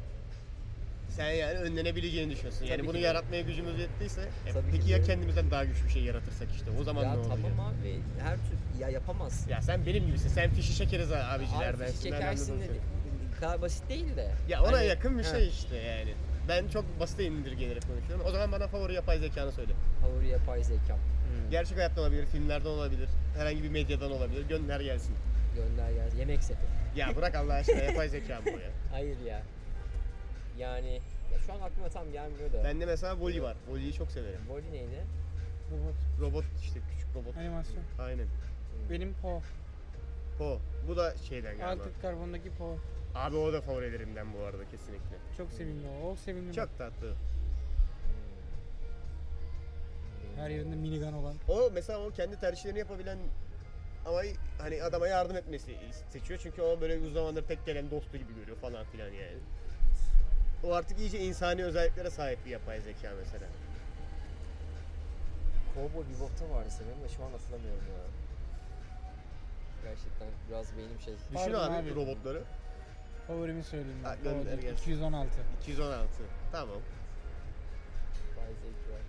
S2: Sen yani önlenebileceğini düşünüyorsun. Yani
S4: Tabii
S2: bunu
S4: ki de.
S2: yaratmaya gücümüz yettiyse e,
S4: Tabii
S2: peki
S4: ki
S2: ya
S4: de.
S2: kendimizden daha güçlü bir şey yaratırsak işte o zaman
S4: ya
S2: ne olacak?
S4: tamam abi her tür ya yapamazsın.
S2: Ya sen benim gibisin. Sen fişi çekeriz abicilerden.
S4: Harfi çekersin dedi. Kadar basit değil de.
S2: Ya ona
S4: Hani-
S2: yakın bir
S4: Ha,
S2: şey işte yani. Ben çok basite indirgenerek konuşuyorum. O zaman bana favori yapay zekanı söyle.
S4: Favori yapay zekam.
S2: Gerçek hayatta olabilir, filmlerden olabilir, herhangi bir medyadan olabilir. Gönder gelsin.
S4: Gönder gel. Yemek sepeti.
S2: Ya bırak Allah aşkına yapay zeka bu ya.
S4: Hayır ya. Yani ya şu an aklıma tam gelmiyor da.
S2: Bende mesela voli var. Voliyi çok severim.
S4: Body neydi?
S6: Robot
S2: Robot işte küçük robot.
S6: animasyon.
S2: Aynen.
S6: Benim Po.
S2: Po. Bu da şeyden galiba.
S6: Altı karbondaki Po.
S2: Abi o da favorilerimden bu arada kesinlikle.
S6: Çok sevimli o. O sevimli.
S2: Çok tatlı.
S6: Her yerinde minigun olan.
S2: O mesela o kendi tercihlerini yapabilen ama hani adama yardım etmesi seçiyor. Çünkü o böyle uzun zamandır tek gelen dostu gibi görüyor falan filan yani. O artık iyice insani özelliklere sahip bir yapay zeka mesela.
S4: Cowboy Bebop'ta vardı sanırım da şu an hatırlamıyorum ya. Gerçekten biraz beynim şey.
S2: Düşün
S6: Pardon
S2: abi,
S6: abi.
S2: robotları.
S6: Favorimi söyleyeyim.
S2: Ha,
S6: ben.
S2: gönder
S6: O,
S2: gelsin.
S6: 216.
S2: 216. Tamam.
S4: Bay Zeki var.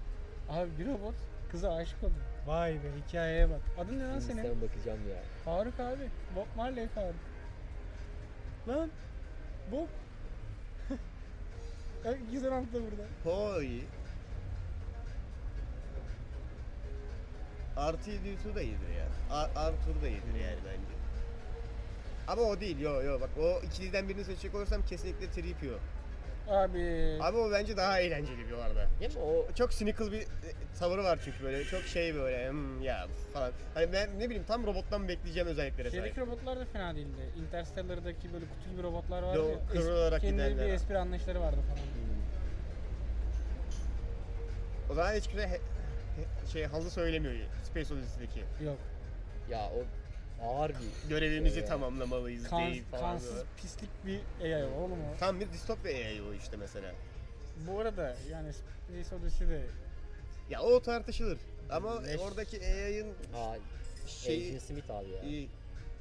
S6: Abi bir robot kıza aşık oldu. Vay be hikayeye bak. Adın ne lan senin?
S4: Sen bakacağım ya.
S6: Faruk abi. Bob Marley Faruk. Lan. Bob. Bak güzel anlattı burada.
S2: Poi. Artı 7 da iyidir ya. Ar- Arthur da iyidir yani bence. Ama o değil yo yo bak o ikiliden birini seçecek olursam kesinlikle Tripio.
S6: Abi.
S2: Abi o bence daha eğlenceli bir arada.
S4: Değil mi o?
S2: Çok cynical bir e, tavırı var çünkü böyle çok şey böyle hmm, ya falan. Hani ben ne bileyim tam robottan bekleyeceğim özelliklere sahip.
S6: Şeydeki robotlar da fena değildi. Interstellar'daki böyle kutu gibi robotlar vardı.
S2: Yo,
S6: ya. Es-
S2: kıvrılarak
S6: kendi
S2: gidenler.
S6: bir espri anlayışları vardı falan.
S2: O zaman hiç kimse he- he- şey halı söylemiyor Space Odyssey'deki.
S6: Yok.
S4: Ya o ağır bir.
S2: Görevimizi
S4: Evet.
S2: tamamlamalıyız
S6: Kan,
S2: deyip falan.
S6: kansız pislik bir AI oğlum o.
S2: Tam bir distopya AI o işte mesela.
S6: Bu arada yani Space Odyssey de
S2: Ya o tartışılır. Ama
S4: Meş-
S2: oradaki AI'ın
S4: Aa,
S2: şeyi...
S4: Agent Smith abi ya.
S2: iyi.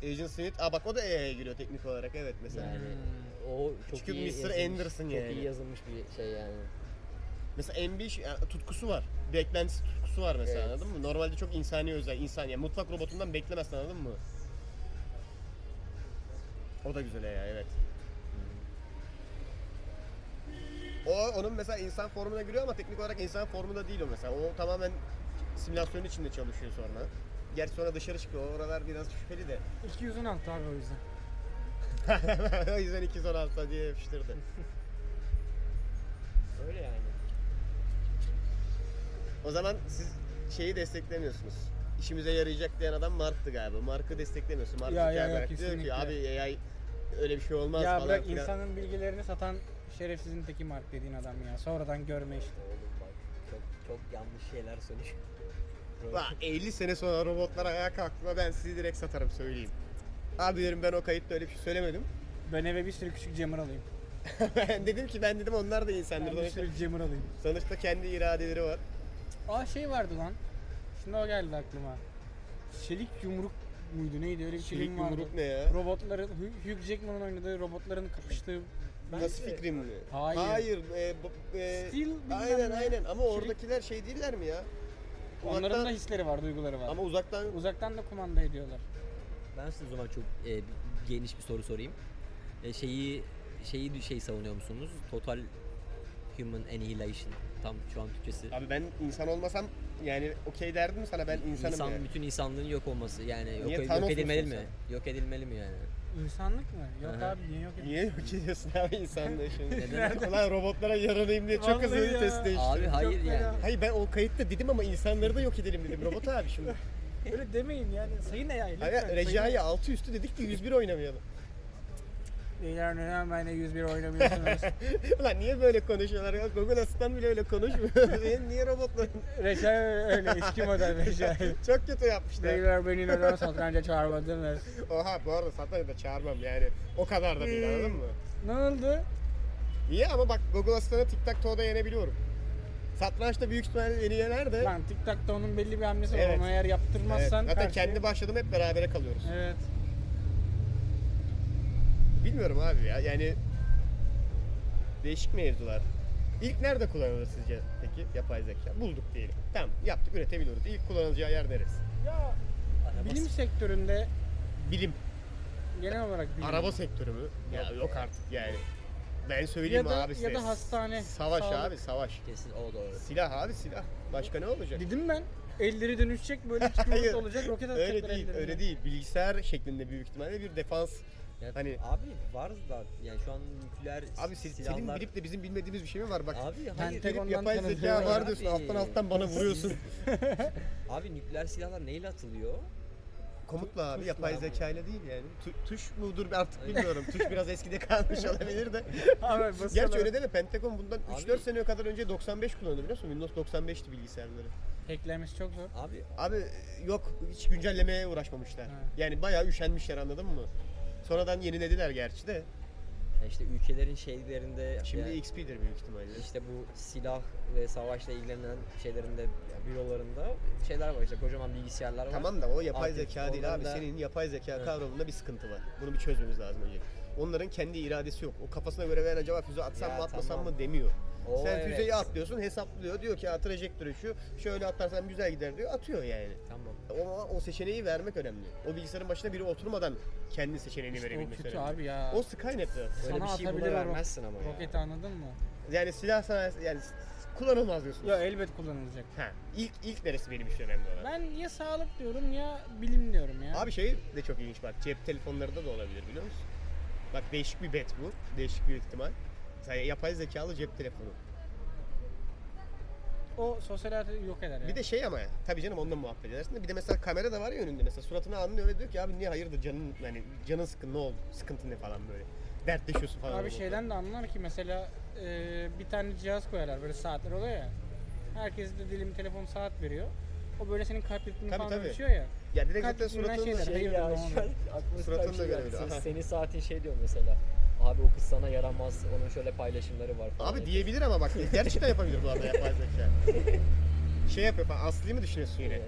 S2: Agent Smith. Aa bak o da AI'ye giriyor teknik olarak evet mesela.
S4: Yani o çok
S2: Çünkü
S4: iyi
S2: Mr.
S4: yazılmış,
S2: Anderson
S4: çok
S2: yani.
S4: iyi yazılmış bir şey yani.
S2: Mesela M5 yani tutkusu var. Beklentisi tutkusu var mesela
S4: Evet.
S2: anladın mı? Normalde çok insani özel, insan yani mutlak robotundan beklemezsin anladın mı? O da güzel ya evet. O onun mesela insan formuna giriyor ama teknik olarak insan formunda değil o mesela. O tamamen simülasyon içinde çalışıyor sonra. Gerçi sonra dışarı çıkıyor. Oralar biraz şüpheli de.
S6: 200'ün altı abi o yüzden.
S2: o yüzden 216 diye yapıştırdı.
S4: Öyle yani.
S2: O zaman siz şeyi desteklemiyorsunuz. İşimize yarayacak diyen adam Mark'tı galiba. Mark'ı desteklemiyorsun. Mark
S6: Ya, ya, ya,
S2: Zuckerberg diyor ki
S6: kesinlikle.
S2: abi AI öyle bir şey olmaz
S6: ya
S2: falan
S6: bırak
S2: filan.
S6: insanın bilgilerini satan şerefsizin teki Mark dediğin adam ya. Sonradan görme işte.
S4: Oğlum bak çok çok yanlış şeyler söylüyor.
S2: Bak 50 sene sonra robotlar ayağa kalktığında ben sizi direkt satarım söyleyeyim. Abi derim ben o kayıtta öyle bir şey söylemedim.
S6: Ben eve bir sürü küçük jammer alayım.
S2: ben dedim ki ben dedim onlar da
S6: Ben
S2: insandır.
S6: bir
S2: Sonuçta,
S6: sürü jammer alayım.
S2: sonuçta kendi iradeleri var.
S6: Aa şey vardı lan. Şimdi o geldi aklıma. Çelik yumruk muydu neydi öyle bir
S2: Çelik
S6: film vardı.
S2: yumruk ne ya?
S6: Robotların, Hugh- Hugh Jackman'ın oynadığı robotların kapıştığı
S2: Nasıl fikrim mi?
S6: Hayır.
S2: Hayır. e, bu- e,
S6: Steel bilmem
S2: aynen
S6: ne.
S2: aynen ama
S6: Çelik-
S2: oradakiler şey değiller mi ya?
S6: Onların
S2: Uzaktan-
S6: da hisleri var, duyguları var.
S2: ama uzaktan
S6: Uzaktan da kumanda ediyorlar.
S4: Ben size o zaman çok e, bir- geniş bir soru sorayım. E, şeyi şeyi şey savunuyor musunuz? Total Human Annihilation. Tam şu an Türkçesi.
S2: Abi ben insan olmasam yani okey derdim sana ben insanım
S4: İnsan,
S2: yani.
S4: bütün insanlığın yok olması yani yok,
S2: Niye
S4: yok
S2: Thanos
S4: edilmeli mi?
S2: musun
S4: Yok edilmeli mi yani?
S6: İnsanlık mı? Yok
S4: Aha.
S6: abi niye yok?
S2: Niye yok ediyorsun abi insanlığı şimdi?
S4: Neden?
S2: Ulan robotlara yaranayım diye çok
S6: Vallahi
S2: hızlı bir
S6: ya.
S2: test
S4: Abi
S2: değiştirdim.
S4: hayır
S6: fena.
S4: yani.
S2: Hayır ben o kayıtta dedim ama insanları da yok edelim dedim. Robot abi şimdi.
S6: Öyle demeyin yani. Sayın AI lütfen.
S2: Hayır Recai altı üstü dedik ki 101 oynamayalım.
S6: Beyler neden benimle 101 oynamıyorsunuz?
S2: Ulan niye böyle konuşuyorlar? ya? Google Asistan bile öyle konuşmuyor. niye, niye robotlar?
S6: Recai öyle eski model Recai.
S2: çok kötü yapmışlar.
S6: Beyler beni neden satranca çağırmadınız?
S2: Oha bu arada satayı da çağırmam yani. O kadar da değil
S6: Hmm.
S2: anladın mı?
S6: Ne oldu?
S2: İyi ama bak Google Asistan'ı tic tac toe'da yenebiliyorum. Satrançta büyük ihtimalle beni yener de.
S6: Lan Tic Tac'ta onun belli bir hamlesi var.
S2: Evet.
S6: Ona eğer
S2: Evet,
S6: yaptırmazsan...
S2: zaten
S6: karşıya-
S2: kendi başladım hep berabere kalıyoruz.
S6: Evet.
S2: Bilmiyorum abi ya yani değişik mevzular. İlk nerede kullanılır sizce peki yapay zeka? Bulduk diyelim. Tamam yaptık üretebiliyoruz. İlk kullanılacağı yer neresi?
S6: Ya bilim sektöründe
S2: Bilim.
S6: genel olarak bilim.
S2: Araba sektörü mü? Ya yok artık yani. Ben söyleyeyim
S6: ya da,
S2: abi size.
S6: ya da hastane.
S2: Savaş
S6: sağlık.
S2: abi savaş.
S4: Kesin o doğru.
S2: Silah abi silah. Başka ne olacak?
S6: Dedim ben. elleri dönüşecek böyle çıkmış
S2: Hayır,
S6: olacak roket atacaklar
S2: Öyle değil,
S6: ellerine.
S2: öyle değil. Bilgisayar şeklinde büyük ihtimalle bir defans.
S4: Ya
S2: Hani-
S4: abi var da yani şu an nükleer
S2: Abi
S4: s-
S2: senin, senin
S4: silahlar-
S2: bilip de bizim bilmediğimiz bir şey mi var? Bak
S4: Abi hayır.
S6: Ben-
S2: gelip
S6: Pentagon'dan
S2: yapay zeka
S6: tanıdığı
S2: var
S4: var
S2: diyorsun.
S4: abi.
S2: Alttan alttan bana vuruyorsun.
S4: Abi nükleer silahlar neyle atılıyor?
S2: Komutla abi
S4: Tuşla
S2: yapay
S4: ama.
S2: zeka ile değil yani. Tu- tuş mudur artık
S4: Hayır.
S2: bilmiyorum. tuş biraz eskide kalmış olabilir de.
S6: Abi basıyorlar.
S2: Gerçi öyle deme. Pentagon bundan
S4: Abi-
S2: 3-4 sene kadar önce 95 kullanıyordu biliyor musun? Windows 95'ti bilgisayarları.
S6: Hacklenmesi çok zor.
S4: Abi
S2: Abi e, yok hiç güncellemeye uğraşmamışlar.
S6: Ha.
S2: Yani bayağı üşenmişler anladın mı? Sonradan yenilediler gerçi de.
S4: yani işte ülkelerin şeylerinde
S2: Şimdi
S4: yani
S2: XP'dir büyük ihtimalle.
S4: işte bu silah ve savaşla ilgilenen şeylerinde yani bürolarında şeyler var işte kocaman bilgisayarlar var.
S2: Tamam da o yapay
S4: Artık
S2: zeka değil
S4: onların
S2: abi.
S4: da-
S2: Senin yapay zeka
S4: Evet.
S2: kavramında bir sıkıntı var. Bunu bir çözmemiz lazım önce. Onların kendi iradesi yok. O kafasına göre veren acaba füze atsam
S4: Ya
S2: mı atmasam
S4: tamam.
S2: mı demiyor.
S4: O
S2: Sen
S4: evet.
S2: füzeyi atlıyorsun hesaplıyor. Diyor ki ya trajektörü şu şöyle atlarsam güzel gider diyor. Atıyor yani.
S4: Tamam.
S2: O, o seçeneği vermek önemli. O bilgisayarın başına biri oturmadan kendi seçeneğini
S6: İşte o
S2: verebilmek
S6: kötü
S2: önemli.
S6: abi ya.
S2: O Skynet'te.
S4: Öyle bir
S6: Sana
S4: şey buna
S6: atabilir o
S4: vermezsin ama ya.
S6: Roketi anladın mı?
S2: Yani silah sanayisi yani s- kullanılmaz diyorsun.
S6: Ya elbet kullanılacak.
S2: Ha, ilk ilk neresi benim için önemli olan?
S6: Ben ya sağlık diyorum ya bilim diyorum ya.
S2: Abi şey de çok ilginç bak cep telefonlarında da olabilir biliyor musun? Bak değişik bir bet bu. Değişik bir ihtimal. Mesela yapay zekalı cep telefonu.
S6: o sosyal hayatı yok eder ya.
S2: Bir de şey ama tabii canım onunla muhabbet edersin de bir de mesela kamera da var ya önünde mesela suratını anlıyor ve diyor ki abi niye hayırdır canın hani canın sıkın ne oldu sıkıntın ne falan böyle. Dertleşiyorsun falan.
S6: Abi
S2: orada.
S6: şeyden de anlar ki mesela e, bir tane cihaz koyarlar böyle saatler oluyor ya. Herkes de dilim telefon saat veriyor. O böyle senin kalp ritmini
S2: Tabii,
S6: falan
S2: tabii.
S6: ölçüyor ya.
S2: ya direkt
S6: Kalp
S2: zaten
S6: ritminden
S2: suratını
S6: şeyler.
S4: Şey ya
S6: Hayırdır,
S4: şu an
S6: ne
S4: aklıma
S2: Suratını
S4: bir
S2: da
S4: şey geldi.
S2: görebiliyor, aha.
S4: Senin saatin şey diyor mesela. Abi o kız sana yaramaz. Onun şöyle paylaşımları var falan.
S2: Abi diyebilir ama bak gerçekten yapabilir bu arada yapay zeka. şey yapıyor falan Aslı'yı mı düşünüyorsun yine?
S4: Ee,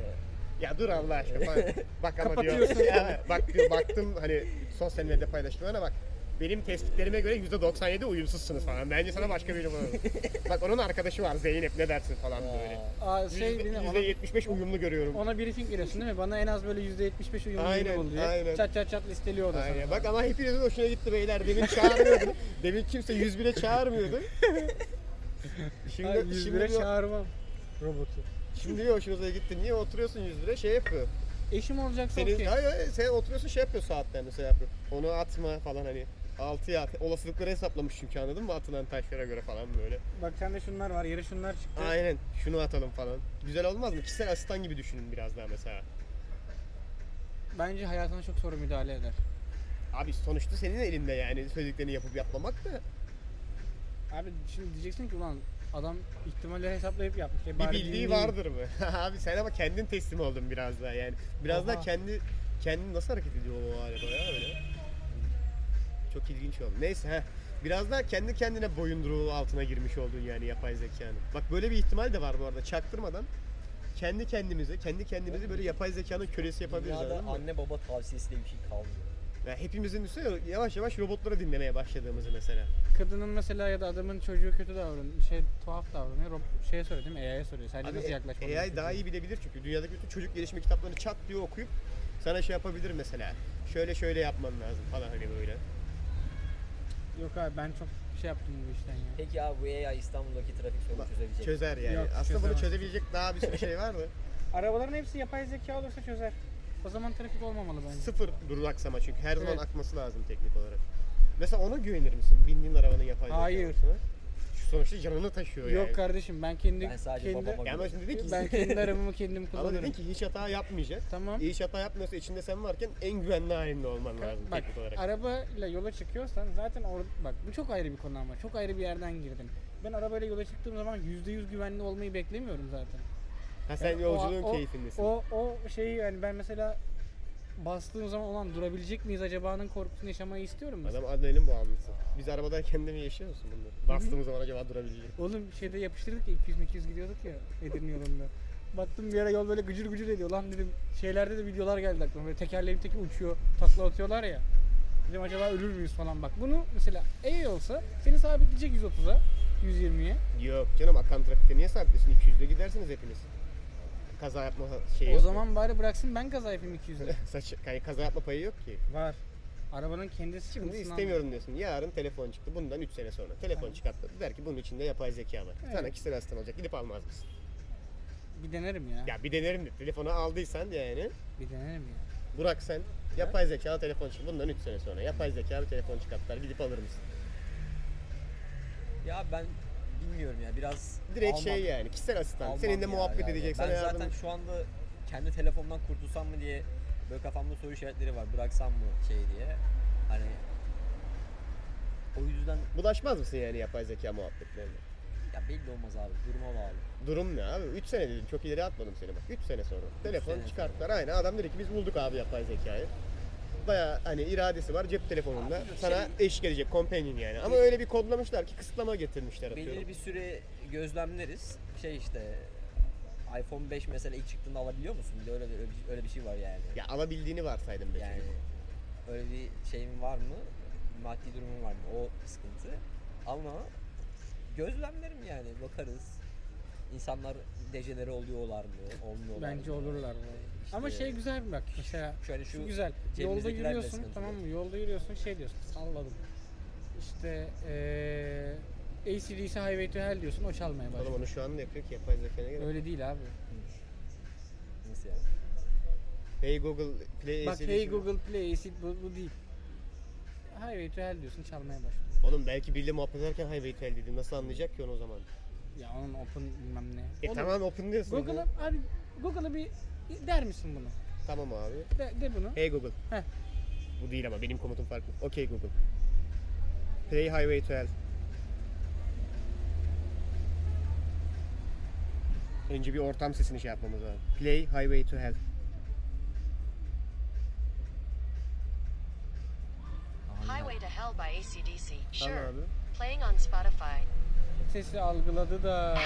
S2: Ya dur Allah aşkına falan. Bak ama diyor.
S6: Kapatıyorsun.
S2: Ya bak diyor baktım hani sosyal medyada paylaştılar ama bak benim tespitlerime göre %97 uyumsuzsunuz falan. Bence sana başka biri bulalım. bak onun arkadaşı var Zeynep ne dersin falan böyle.
S6: Aa, şey
S2: Yüzde-
S6: yine ona,
S2: %75 uyumlu görüyorum.
S6: ona briefing veriyorsun değil mi? Bana en az böyle %75 uyumlu
S2: Aynen,
S6: aynen, bul diye.
S2: aynen.
S6: Çat çat çat listeliyor o da sana.
S2: Aynen. Bak ama hepinizin hoşuna gitti beyler. Demin çağırmıyordu. Demin kimse 101'e çağırmıyordu. Şimdi,
S6: Ay, 101'e
S2: şimdi,
S6: çağırmam robotu.
S2: şimdi hoşunuza gitti. Niye oturuyorsun 101'e şey yapıyor.
S6: Eşim olacaksa
S2: Senin,
S6: okey.
S2: hayır, hayır, sen oturuyorsun şey yapıyor saatler mesela yapıyor. Onu atma falan hani. 6'ya at. Olasılıkları hesaplamış çünkü anladın mı? Atılan taşlara göre falan böyle.
S6: Bak sende şunlar var, yarı şunlar çıktı.
S2: Aynen. Şunu atalım falan. Güzel olmaz mı? Kişisel asistan gibi düşünün biraz daha mesela.
S6: Bence hayatına çok soru müdahale eder.
S2: Abi sonuçta senin elinde yani söylediklerini yapıp yapmamak da
S6: Abi şimdi diyeceksin ki ulan adam ihtimalleri hesaplayıp yapmış. E
S2: bir
S6: bari
S2: bildiği
S6: dinleyeyim.
S2: vardır mı? Abi sen ama kendin teslim oldun biraz daha yani. Biraz daha
S6: Aha.
S2: kendi kendini nasıl hareket ediyor o araba ya öyle. Çok ilginç oldu. Neyse ha. Biraz daha kendi kendine boyunduruğu altına girmiş oldun yani yapay zekanın. Bak böyle bir ihtimal de var bu arada çaktırmadan kendi kendimize, kendi kendimizi böyle yapay zekanın kölesi yapabiliriz
S4: Dünyada
S2: anladın mı?
S4: anne baba tavsiyesi diye bir şey kalmıyor.
S2: Ya hepimizin üstüne yavaş yavaş robotları dinlemeye başladığımızı mesela.
S6: Kadının mesela ya da adamın çocuğu kötü davranıyor. Şey tuhaf davranıyor. Rob- şeye soruyor değil mi? AI'ye soruyor. Sence
S2: Abi
S6: nasıl yaklaşmalı?
S2: AI daha iyi bilebilir çünkü dünyadaki bütün çocuk gelişme kitaplarını çat diye okuyup sana şey yapabilir mesela. Şöyle şöyle yapman lazım falan hani böyle.
S6: Yok abi ben çok şey yaptım bu işten ya.
S4: Peki abi bu AI İstanbul'daki trafik sorunu
S2: Bak,
S4: çözebilecek. mi?
S2: Çözer yani.
S6: Yok,
S2: Aslında bunu
S6: çözemez.
S2: çözebilecek daha bir sürü şey var da.
S6: Arabaların hepsi yapay zeka olursa çözer. O zaman trafik olmamalı bence.
S2: Sıfır duraksama çünkü her zaman
S6: Evet.
S2: akması lazım teknik olarak. Mesela ona güvenir misin? Bindiğin arabanın yapay zeka
S6: Hayır.
S2: olmasına. Şu sonuçta canını taşıyor yani.
S6: Yok kardeşim ben kendi
S4: Ben sadece
S6: kendi
S4: babama
S2: Ya ama
S4: güveniyorum.
S2: şimdi dedin ki,
S6: ben kendi arabamı kendim
S2: ama dedin
S6: kullanırım.
S2: ki hiç hata yapmayacak.
S6: Tamam.
S2: Hiç hata yapmıyorsa içinde sen varken en güvenli halinde olman lazım
S6: Bak
S2: teknik olarak.
S6: arabayla yola çıkıyorsan zaten orada bak bu çok ayrı bir konu ama çok ayrı bir yerden girdin. Ben arabayla yola çıktığım zaman %100 güvenli olmayı beklemiyorum zaten.
S2: Ha sen
S6: Yani o-
S2: yolculuğun
S6: o,
S2: keyfindesin.
S6: O, o şeyi yani ben mesela bastığım zaman olan durabilecek miyiz acaba'nın korkusunu yaşamayı istiyorum mesela.
S2: Adam adrenalin bağımlısı. Biz arabadayken de mi yaşıyor musun bunları? Bastığımız zaman acaba durabilecek mi?
S6: Oğlum şeyde yapıştırdık ya 200 200 gidiyorduk ya Edirne yolunda. Baktım bir ara yol böyle gıcır gıcır ediyor lan dedim. Şeylerde de videolar geldi aklıma. Böyle tekerleğin teki uçuyor, takla atıyorlar ya. Dedim acaba ölür müyüz falan bak. Bunu mesela iyi olsa seni sabitleyecek 130'a, 120'ye.
S2: Yok canım akan trafikte niye sabitlesin? 200'de gidersiniz hepiniz. Kaza yapma şeyi
S6: O
S2: E yok.
S6: zaman bari bıraksın ben kaza yapayım 200'de.
S2: Saç, yani kaza yapma payı yok ki.
S6: Var. Arabanın kendisi
S2: Şimdi
S6: sıkıntısından-
S2: istemiyorum diyorsun. Yarın telefon çıktı. Bundan 3 sene sonra. Telefon çıkarttı. Der ki bunun içinde yapay zeka var. Sana kişisel asistan olacak. Gidip almaz mısın?
S6: Bir denerim ya.
S2: Ya bir denerim de telefonu aldıysan yani.
S6: Bir denerim ya.
S2: Burak sen yapay zekalı telefon çık. Bundan 3 sene sonra yapay zekalı telefon çıkarttılar gidip alır mısın?
S8: Ya ben bilmiyorum ya biraz
S2: Direkt
S8: almam-
S2: şey yani kişisel asistan.
S8: almam
S2: Seninle
S8: ya
S2: muhabbet
S8: galiba.
S2: edecek
S8: Ben
S2: sana yardım.
S8: zaten şu anda kendi telefondan kurtulsam mı diye böyle kafamda soru işaretleri var. Bıraksam mı şey diye. Hani o yüzden
S2: Bulaşmaz mısın yani yapay zeka muhabbetlerine?
S8: ya belli olmaz abi duruma bağlı.
S2: Durum ne abi? 3 sene dedim çok ileri atmadım seni bak. 3 sene sonra. Telefon
S8: sene
S2: çıkarttılar aynı. Adam dedi ki biz bulduk abi yapay zekayı. Baya hani iradesi var cep telefonunda.
S8: Abi,
S2: sana eş gelecek companion yani. Ama öyle bir kodlamışlar ki kısıtlama getirmişler atıyorum.
S8: Belirli bir süre gözlemleriz. Şey işte iPhone 5 mesela ilk çıktığında alabiliyor musun? Bir de öyle, öyle, bir, öyle bir şey var yani.
S2: Ya alabildiğini varsaydım ben.
S8: Yani öyle bir şeyim var mı? Maddi durumum var mı? O sıkıntı. Ama gözlemlerim yani bakarız. İnsanlar deceleri oluyorlar mı? Olmuyorlar
S6: Bence
S8: mı?
S6: olurlar bu. arada. Ama
S8: İşte-
S6: şey güzel bak mesela
S8: Şöyle
S6: şu
S8: şu
S6: güzel. Yolda
S8: cebimizdekiler de
S6: yürüyorsun
S8: sıkıntı.
S6: tamam mı? Yolda yürüyorsun şey diyorsun salladım. İşte eee ACDC Highway to Hell diyorsun o çalmaya
S2: Oğlum
S6: başlıyor.
S2: onu şu anda yapıyor ki yapay zekaya gerek.
S6: Öyle değil abi.
S8: Nasıl yani?
S2: Hey Google Play
S6: Bak
S2: ACDC
S6: hey
S2: mi?
S6: Google Play ACD bu, bu değil. Highway to Hell diyorsun çalmaya başlıyor.
S2: Oğlum belki biriyle muhabbet ederken Highway Tel dedim. Nasıl anlayacak ki onu o zaman?
S6: Ya onun open bilmem ne.
S2: E
S6: Oğlum,
S2: tamam open diyorsun.
S6: Google'a abi Google'a bir der misin bunu?
S2: Tamam abi.
S6: De, de bunu.
S2: Hey Google.
S6: Heh.
S2: Bu değil ama benim komutum farklı. Okey Google. Play Highway to Hell. Önce bir ortam sesini şey yapmamız lazım. Play Highway to Hell.
S9: Highway to Hell by ACDC.
S2: Tamam
S9: Sure.
S2: abi.
S9: Playing on Spotify.
S8: E-
S6: Sesi algıladı da.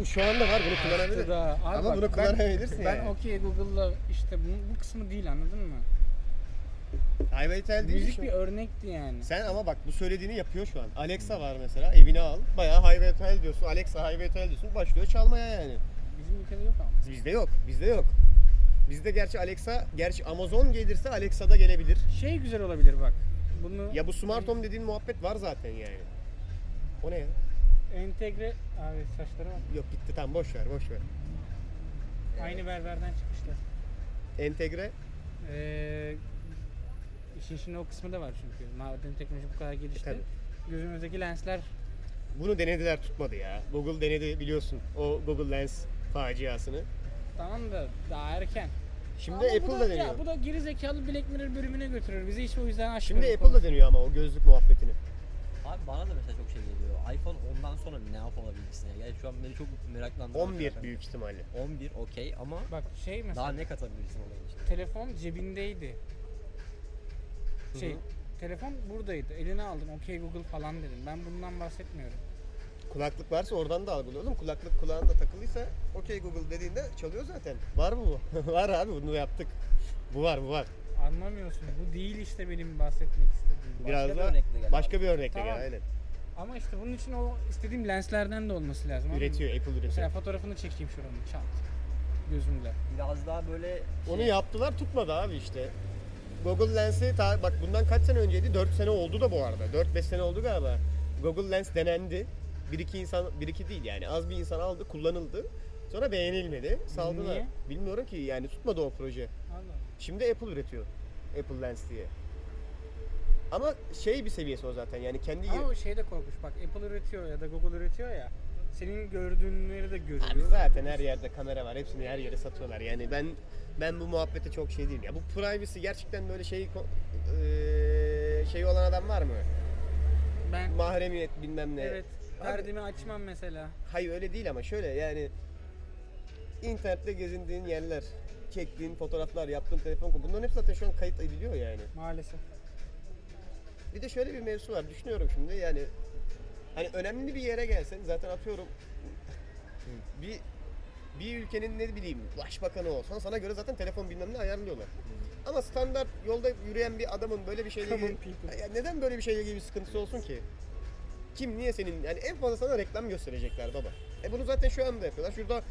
S2: Bu şu anda var bunu
S6: yaptı
S2: kullanabilir.
S6: da. Abi
S2: Ama
S6: bak,
S2: bunu kullanabilirsin
S6: Ben, ben
S2: yani.
S6: okey Google'la işte bu, bu kısmı değil anladın mı?
S2: Highway to Hell değil
S6: Müzik
S2: şu
S6: bir
S2: an.
S6: örnekti yani.
S2: Sen ama bak bu söylediğini yapıyor şu an. Alexa var mesela evine al. Bayağı Highway to Hell diyorsun. Alexa Highway to Hell diyorsun. Başlıyor çalmaya yani.
S6: Bizim ülkede yok ama.
S2: Bizde yok. Bizde yok. Bizde gerçi Alexa, gerçi Amazon gelirse Alexa'da gelebilir.
S6: Şey güzel olabilir bak. Bunu
S2: Ya bu smart home dediğin muhabbet var zaten yani. O ne ya?
S6: entegre... Abi saçları bak.
S2: Yok gitti tamam boş ver boş ver.
S6: Aynı berberden çıkmışlar.
S2: Entegre
S6: Ee, işin şimdi o kısmı da var çünkü. Madem teknoloji bu kadar
S2: E,
S6: gelişti. gözümüzdeki lensler
S2: bunu denediler tutmadı ya. Google denedi biliyorsun o Google Lens faciasını.
S6: tamam da daha erken.
S2: Şimdi
S6: Ama bu
S2: Apple
S6: da-
S2: da
S6: ya
S2: deniyor.
S6: bu da geri zekalı Black Mirror bölümüne götürür. Bizi hiç o yüzden aşmıyor.
S2: Şimdi
S6: bu
S2: Apple
S6: konu.
S2: da deniyor ama o gözlük muhabbetini.
S8: Abi bana da mesela çok şey geliyor. iPhone 10'dan sonra ne yapabilirsin ya? Yani şu an beni çok meraklandırıyor.
S2: 11 büyük ihtimalle.
S8: 11 okey ama
S6: Bak şey mesela
S8: daha ne katabilirsin olayın içine?
S6: telefon cebindeydi. Şey telefon buradaydı. Eline aldım. Okey Google falan dedim. Ben bundan bahsetmiyorum.
S2: Kulaklık varsa oradan da algılıyordum. Kulaklık kulağında takılıysa okey Google dediğinde çalıyor zaten. Var mı bu? var abi bunu yaptık. Bu var bu var.
S6: Anlamıyorsun. Bu değil işte benim bahsetmek istediğim.
S2: Biraz
S8: bir
S2: da
S8: örnekle gel
S2: başka bir örnekle
S6: Tamam.
S2: gel aynen.
S6: Ama işte bunun için o istediğim lenslerden de olması lazım. anladın mı?
S2: Üretiyor Apple üretiyor.
S6: Mesela fotoğrafını çekeyim şuranın çat. Gözümle.
S8: Biraz daha böyle
S2: Onu yaptılar tutmadı abi işte. Google Lens'i ta- bak bundan kaç sene önceydi? 4 sene oldu da bu arada. 4-5 sene oldu galiba. Google Lens denendi. Bir iki insan, bir iki değil yani az bir insan aldı, kullanıldı. Sonra beğenilmedi, saldılar.
S6: Niye?
S2: Bilmiyorum ki yani tutmadı o proje.
S6: Anladın mı?
S2: Şimdi Apple üretiyor Apple Lens diye. Ama şey bir seviyesi o zaten yani kendi
S6: Ama o şey de korkunç. Bak Apple üretiyor ya da Google üretiyor ya. Senin gördüğünleri de görüyor.
S2: Abi zaten her yerde kamera var. Hepsini her yere satıyorlar. Yani ben ben bu muhabbete çok şey değilim. Ya bu privacy gerçekten böyle şey ko- eee, şey olan adam var mı?
S6: Ben
S2: Mahremiyet bilmem ne.
S6: evet
S2: Abi-
S6: perdemi açmam mesela.
S2: Hayır öyle değil ama şöyle yani internette gezindiğin yerler, çektiğin fotoğraflar, yaptığın telefon konu- bunların hepsi zaten şu an kayıt ediliyor yani.
S6: Maalesef.
S2: Bir de şöyle bir mevzu var. Düşünüyorum şimdi yani hani önemli bir yere gelsen zaten atıyorum bir bir ülkenin ne bileyim başbakanı olsan sana göre zaten telefon bilmem ne ayarlıyorlar. Ama standart yolda yürüyen bir adamın böyle bir şeyle
S6: Common
S2: ilgili,
S6: people.
S2: Ya neden böyle bir şeyle ilgili bir sıkıntısı olsun ki? Kim niye senin yani en fazla sana reklam gösterecekler baba. E bunu zaten şu anda yapıyorlar. Şurada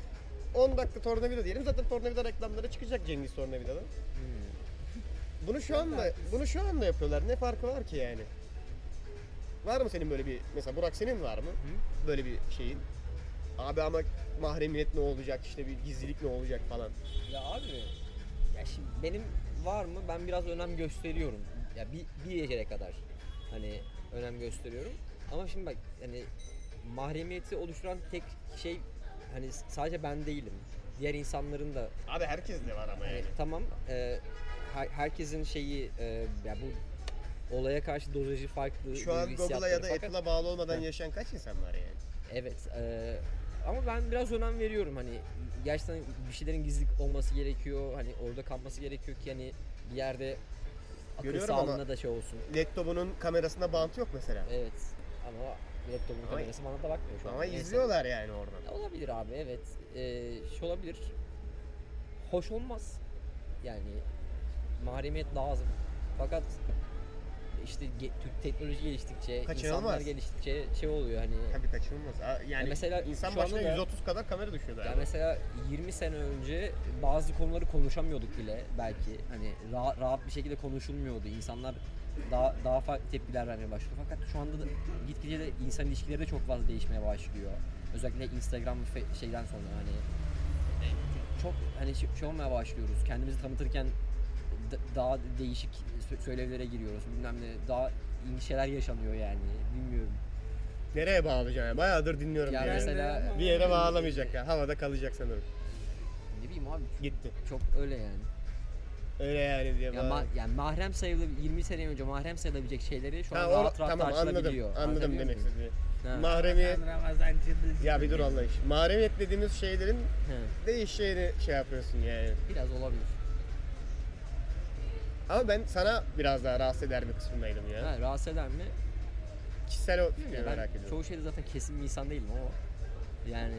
S2: 10 dakika tornavida diyelim zaten tornavida reklamları çıkacak Cengiz tornavidadan.
S8: şey, hmm.
S2: Bunu şu anda bunu şu anda yapıyorlar. Ne farkı var ki yani? Var mı senin böyle bir mesela Burak senin var mı? Böyle bir şeyin. Abi ama mahremiyet ne olacak işte bir gizlilik ne olacak falan.
S4: Ya abi ya şimdi benim var mı? Ben biraz önem gösteriyorum. Ya bir, bir yere kadar hani önem gösteriyorum. Ama şimdi bak hani mahremiyeti oluşturan tek şey hani sadece ben değilim. Diğer insanların da
S2: Abi herkes de var ama
S4: Hani
S2: yani.
S4: tamam e, her- herkesin şeyi e, ya bu olaya karşı dozajı farklı.
S2: Şu an
S4: duygu
S2: Google'a ya da
S4: hissiyatları. Fakat-
S2: Apple'a bağlı olmadan yaşayan kaç insan var yani?
S4: Evet. eee, ama ben biraz önem veriyorum hani gerçekten bir şeylerin gizli olması gerekiyor. Hani orada kalması gerekiyor ki hani bir yerde akıl
S2: Görüyorum ama-
S4: sağlığına da şey olsun.
S2: Laptopunun kamerasına bant yok mesela.
S4: Evet. Ama laptopun
S2: Ama-
S4: kamerası bana da bakmıyor şu an.
S2: Ama
S4: Neyse.
S2: izliyorlar yani oradan.
S4: Ya Olabilir abi evet. Eee şey olabilir. Hoş olmaz. Yani mahremiyet lazım. Fakat işte ge- Türk teknoloji geliştikçe,
S2: Kaçınılmaz.
S4: insanlar geliştikçe şey oluyor hani.
S2: Tabii kaçınılmaz. Aa, Yani
S4: Ya mesela
S2: insan
S4: şu anda
S2: başına
S4: da-
S2: 130 kadar kamera düşüyor
S4: Ya
S2: galiba.
S4: mesela 20 sene önce bazı konuları konuşamıyorduk bile belki. Hani rahat, rahat bir şekilde konuşulmuyordu. İnsanlar daha daha farklı tepkiler vermeye başladı. Fakat şu anda da gitgide de insan ilişkileri de çok fazla değişmeye başlıyor. Özellikle Instagram ve fe- şeyden sonra hani e, çok hani şey, şey olmaya başlıyoruz. Kendimizi tanıtırken d- daha değişik sö- söylevlere giriyoruz. Bilmem ne daha ilginç şeyler yaşanıyor yani. Bilmiyorum.
S2: Nereye bağlayacağım yani? Bayağıdır dinliyorum.
S4: Ya
S2: yani.
S4: mesela
S2: Bir yere bağlamayacak ya. Havada kalacak sanırım.
S4: ne bileyim abi
S2: Gitti.
S4: çok öyle yani.
S2: Öyle yani diye
S4: Ya
S2: bağlı.
S4: ma- yani mahrem sayılabilecek 20 sene önce mahrem sayılabilecek şeyleri şu an
S2: Ha, o-
S4: rahat rahat
S2: tamam anladım.
S4: tartışılabiliyor.
S2: Anladım
S4: Anlatabiliyor
S2: demek
S4: muyum?
S2: istediğini.
S4: Ha.
S2: Mahremiyet.
S6: Ramazan
S2: Ee, Ya bir dur Allah için. Mahremiyet dediğimiz şeylerin
S4: He,
S2: değişeceğini şey yapıyorsun yani.
S4: Biraz olabilir.
S2: Ama ben sana biraz daha rahatsız eder bir kısmındaydım ya.
S4: Ha, rahatsız eder mi?
S2: Kişisel o fikrini
S4: Ya
S2: merak
S4: ben
S2: ediyorum.
S4: çoğu şeyde zaten kesin bir insan değilim ama yani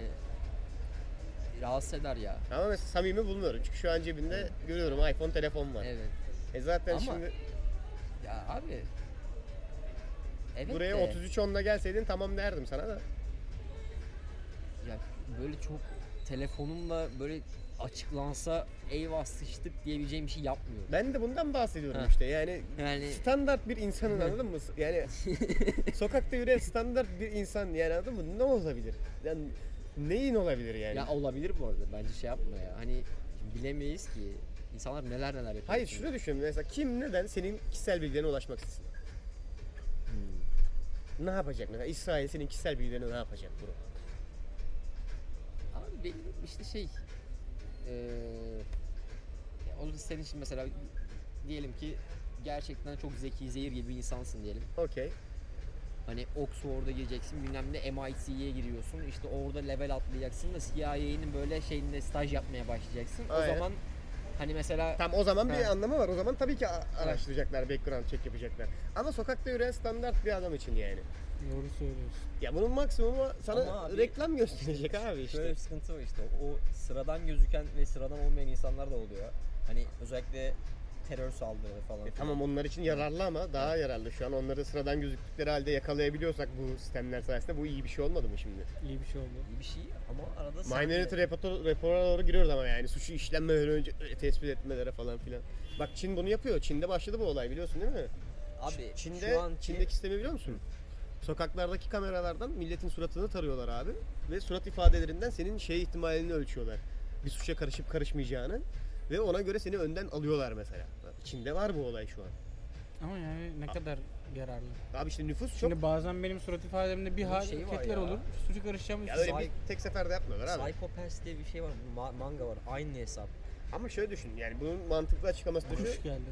S4: rahatsız eder ya.
S2: Ama mesela samimi bulmuyorum. Çünkü şu an cebinde görüyorum iPhone telefon var.
S4: Evet.
S2: E zaten
S4: Ama-
S2: şimdi
S4: Ya abi. Evet
S2: buraya
S4: de,
S2: 33 onla gelseydin tamam derdim sana da.
S4: Ya böyle çok telefonumla böyle açıklansa eyvah sıçtık diyebileceğim bir şey yapmıyorum.
S2: Ben de bundan bahsediyorum
S4: Ha.
S2: işte. Yani
S4: Yani
S2: standart bir insanın anladın mı? Yani sokakta yürüyen standart bir insan yani anladın mı? Ne olabilir? Yani neyin olabilir yani?
S4: Ya olabilir bu arada. Bence şey yapma ya. Hani bilemeyiz ki. insanlar neler neler yapıyor.
S2: Hayır
S4: şimdi.
S2: şunu düşün mesela kim neden senin kişisel bilgilerine ulaşmak istesin?
S4: Hmm.
S2: Ne yapacak mesela? İsrail senin kişisel bilgilerine ne yapacak bro?
S4: Ama benim işte şey... Eee... ya o senin için mesela diyelim ki gerçekten çok zeki, zehir gibi bir insansın diyelim.
S2: Okey.
S4: Hani Oxford'a gireceksin, bilmem ne MIT'ye giriyorsun. İşte orada level atlayacaksın da CIA'nin böyle şeyinde staj yapmaya başlayacaksın.
S2: Aynen.
S4: O zaman hani mesela...
S2: Tam o zaman bir
S4: Ha.
S2: anlamı var. O zaman tabii ki a- araştıracaklar, background check yapacaklar. Ama sokakta yürüyen standart bir adam için yani.
S6: Doğru söylüyorsun.
S2: Ya bunun maksimumu sana
S4: Ama abi-
S2: reklam gösterecek abi işte.
S4: Şöyle bir sıkıntı var işte. O sıradan gözüken ve sıradan olmayan insanlar da oluyor. Hani özellikle terör saldırıları falan.
S2: E
S4: filan.
S2: tamam onlar için yararlı ama daha yararlı. Şu an onları sıradan gözüktükleri halde yakalayabiliyorsak bu sistemler sayesinde bu iyi bir şey olmadı mı şimdi?
S6: İyi bir şey oldu.
S4: İyi bir şey ama arada
S2: Minority raportora rapora doğru giriyoruz ama yani suçu işlenmeden önce tespit etmelere falan filan. Bak Çin bunu yapıyor. Çin'de başladı bu olay biliyorsun değil mi?
S4: Abi
S2: Çin'de
S4: şu anki
S2: Çin'deki sistemi biliyor musun? Sokaklardaki kameralardan milletin suratını tarıyorlar abi ve surat ifadelerinden senin şey ihtimalini ölçüyorlar. Bir suça karışıp karışmayacağını ve ona göre seni önden alıyorlar mesela. Çin'de var bu olay şu an.
S6: Ama yani ne kadar yararlı.
S2: Abi işte nüfus çok
S6: Şimdi bazen benim surat ifademde bir
S4: Bunun şeyi var
S6: hareketler
S4: ya.
S6: olur. Suçu karışacağım.
S2: ya
S6: üstüne-
S2: öyle bir tek seferde yapmıyorlar abi.
S4: Psycho Pass diye bir şey var. bu ma- manga var. Aynı hesap.
S2: Ama şöyle düşün yani bunun mantıklı açıklaması da şu.
S6: Hoş geldin.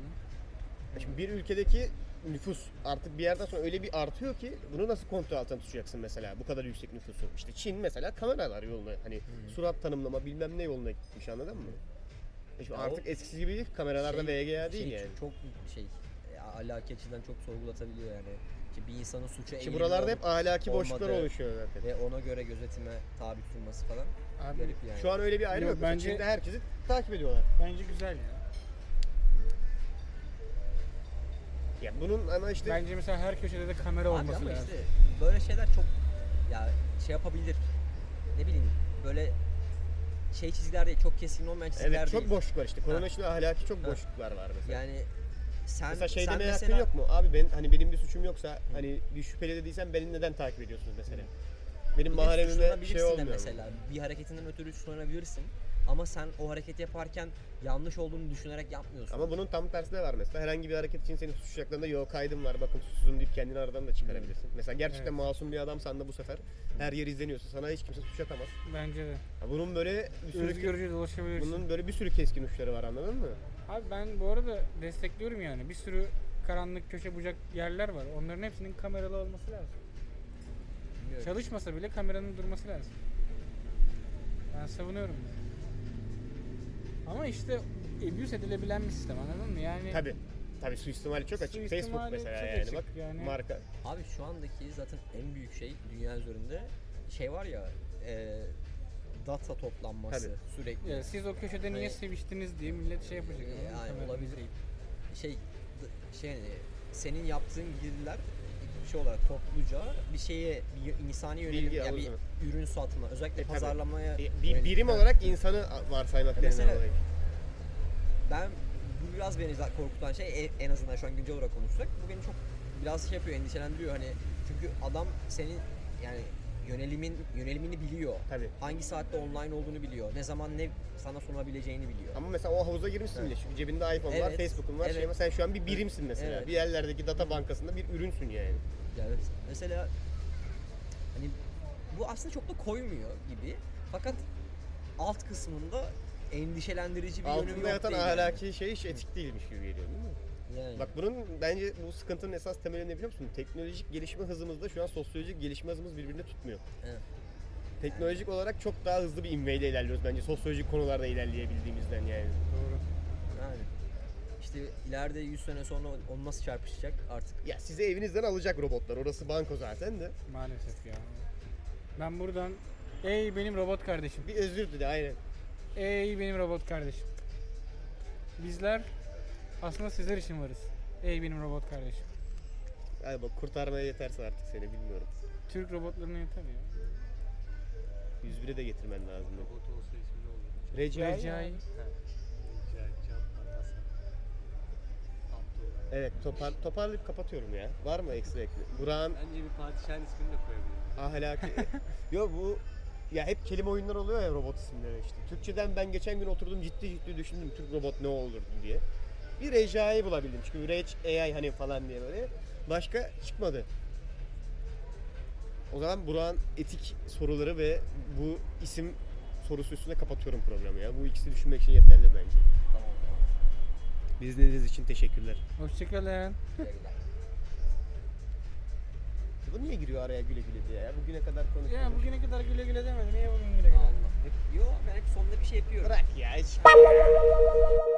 S2: Şimdi bir ülkedeki nüfus artık bir yerden sonra öyle bir artıyor ki bunu nasıl kontrol altına tutacaksın mesela bu kadar yüksek nüfusu. İşte Çin mesela kameralar yoluna hani
S4: Hmm.
S2: surat tanımlama bilmem ne yoluna gitmiş anladın mı? E şimdi
S4: Ya
S2: artık eskisi gibi kameralarda
S4: Şey-
S2: VGA değil
S4: şey,
S2: yani.
S4: Çok şey e, ahlaki açıdan çok sorgulatabiliyor yani. İşte bir insanın suça
S2: Ki
S4: eğilimi
S2: buralarda
S4: ol-
S2: hep ahlaki
S4: olmadı.
S2: boşluklar oluşuyor zaten.
S4: ve ona göre gözetime tabi tutulması falan
S6: Abi
S4: garip yani.
S2: Şu an öyle bir ayrım
S6: Yok,
S2: yok. Mesela
S6: bence-
S2: Çin'de herkesi takip ediyorlar.
S6: bence güzel ya.
S2: Ya bunun ana işte
S6: Bence mesela her köşede de kamera
S4: Abi
S6: olması
S4: ama
S6: lazım.
S4: işte böyle şeyler çok ya şey yapabilir. Ne bileyim böyle şey çizgiler değil, çok kesin olmayan çizgiler
S2: evet çok
S4: değil.
S2: boşluk var işte. Korona
S4: Ha.
S2: içinde ahlaki çok
S4: Ha.
S2: boşluklar var mesela.
S4: Yani sen
S2: Mesela şey
S4: sen
S2: demeye hakkın
S4: mesela-
S2: yok mu? Abi ben hani benim bir suçum yoksa hani bir şüpheli dediysen beni neden takip ediyorsunuz mesela? Benim
S4: Hmm. Bir de
S2: mahremime
S4: suçlanabilirsin
S2: şey
S4: de
S2: olmuyor.
S4: mesela. Bir hareketinden ötürü suçlanabilirsin. Ama sen o hareketi yaparken yanlış olduğunu düşünerek yapmıyorsun.
S2: Ama bunun tam tersi de var mesela. Herhangi bir hareket için seni suçlayacaklarında yok kaydım var bakın suçsuzum deyip kendini
S4: Hmm.
S2: aradan da çıkarabilirsin. Mesela gerçekten
S6: Evet.
S2: masum bir adamsan da bu sefer her yer izleniyorsa sana hiç kimse suç atamaz.
S6: Bence de.
S2: Ya Bunun böyle bir sürü,
S6: Özgürce dolaşabilirsin.
S2: bunun böyle bir sürü keskin uçları var anladın mı?
S6: Abi ben bu arada destekliyorum yani. Bir sürü karanlık köşe bucak yerler var. Onların hepsinin kameralı olması lazım.
S4: Bilmiyorum.
S6: Çalışmasa bile kameranın durması lazım. Ben savunuyorum. bunu. Ama işte abuse edilebilen bir sistem anladın mı? Yani
S2: Tabi. Tabi suistimali çok açık.
S6: Suistimali
S2: Facebook mesela
S6: çok
S2: yani
S6: açık
S2: bak
S6: yani.
S2: marka.
S4: Abi şu andaki zaten en büyük şey dünya üzerinde şey var ya e, data toplanması
S2: Tabii.
S4: sürekli.
S6: ya siz o köşede niye
S4: Hani-
S6: seviştiniz diye millet şey yapacak. anladın mı?
S4: Yani
S6: Kameranın
S4: Ee, olabilir.
S6: değil.
S4: Şey d- şey hani, senin yaptığın girdiler bir şey olarak topluca bir şeye bir insani yönelik
S2: Bilgi
S4: yani bir
S2: alımı.
S4: ürün satma özellikle
S2: E, tabii.
S4: pazarlamaya
S2: E, Bir
S4: yönelik.
S2: birim
S4: Ha.
S2: olarak insanı varsaymak
S4: Mesela-
S2: denilen olay.
S4: ben bu biraz beni za- korkutan şey e- en azından şu an güncel olarak konuşsak bu beni çok biraz şey yapıyor endişelendiriyor hani çünkü adam senin yani yönelimin yönelimini biliyor.
S2: Tabii.
S4: Hangi saatte online olduğunu biliyor. Ne zaman ne sana sunabileceğini biliyor.
S2: Ama mesela o havuza girmişsin bile. Çünkü cebinde iPhone var,
S4: Evet.
S2: Facebook'un var. Şey
S4: Evet.
S2: var. Sen şu an bir birimsin mesela.
S4: Evet.
S2: Bir yerlerdeki data bankasında bir ürünsün yani.
S4: Yani mesela hani bu aslında çok da koymuyor gibi. Fakat alt kısmında endişelendirici bir yönü
S2: Altında
S4: yok
S2: yatan
S4: değil yani.
S2: ahlaki şey hiç etik değilmiş gibi geliyor değil mi?
S4: Yani.
S2: Bak bunun bence bu sıkıntının esas temeli ne biliyor musun? Teknolojik gelişme hızımızda şu an sosyolojik gelişme hızımız birbirini tutmuyor.
S4: Evet.
S2: Teknolojik olarak çok daha hızlı bir ivmeyle ilerliyoruz bence sosyolojik konularda ilerleyebildiğimizden yani.
S6: Doğru.
S4: yani. İşte ileride 100 sene sonra onu nasıl çarpışacak artık
S2: Ya sizi evinizden alacak robotlar. Orası banko zaten de.
S6: Maalesef ya. Ben buradan ey benim robot kardeşim.
S2: Bir özür dile aynen.
S6: Ey benim robot kardeşim. Bizler aslında sizler için varız. Ey benim robot kardeşim.
S2: Hadi bak kurtarmaya yetersin artık seni bilmiyorum.
S6: Türk robotlarına yeter ya.
S2: 101'e de getirmen lazım.
S7: Robot olsa ismi ne olurdu?
S2: Recai.
S6: Recai.
S7: Rica edeceğim. Hasan. Abdullah.
S2: Evet topar, toparlayıp kapatıyorum ya. Var mı ekstra ekli? Burak'ın
S7: Bence bir padişahın ismini de koyabilirim.
S2: ahlaki... Yo bu ya hep kelime oyunları oluyor ya robot isimleri işte. Türkçeden ben geçen gün oturdum ciddi ciddi düşündüm Türk robot ne olurdu diye. Bir Recai bulabildim çünkü Rage AI hani falan diye böyle. Başka çıkmadı. O zaman Burak'ın etik soruları ve bu isim sorusu üstüne kapatıyorum programı ya. Bu ikisi düşünmek için yeterli bence.
S4: tamam.
S2: Biz dinlediğiniz için teşekkürler.
S6: Hoşçakalın.
S2: Bu niye giriyor araya güle güle diye ya? Bugüne kadar konuşmamış.
S6: Ya bugüne kadar güle güle demedim. Niye bugün güle güle?
S4: Hep, yo ben hep sonunda bir şey yapıyorum.
S2: Bırak ya hiç.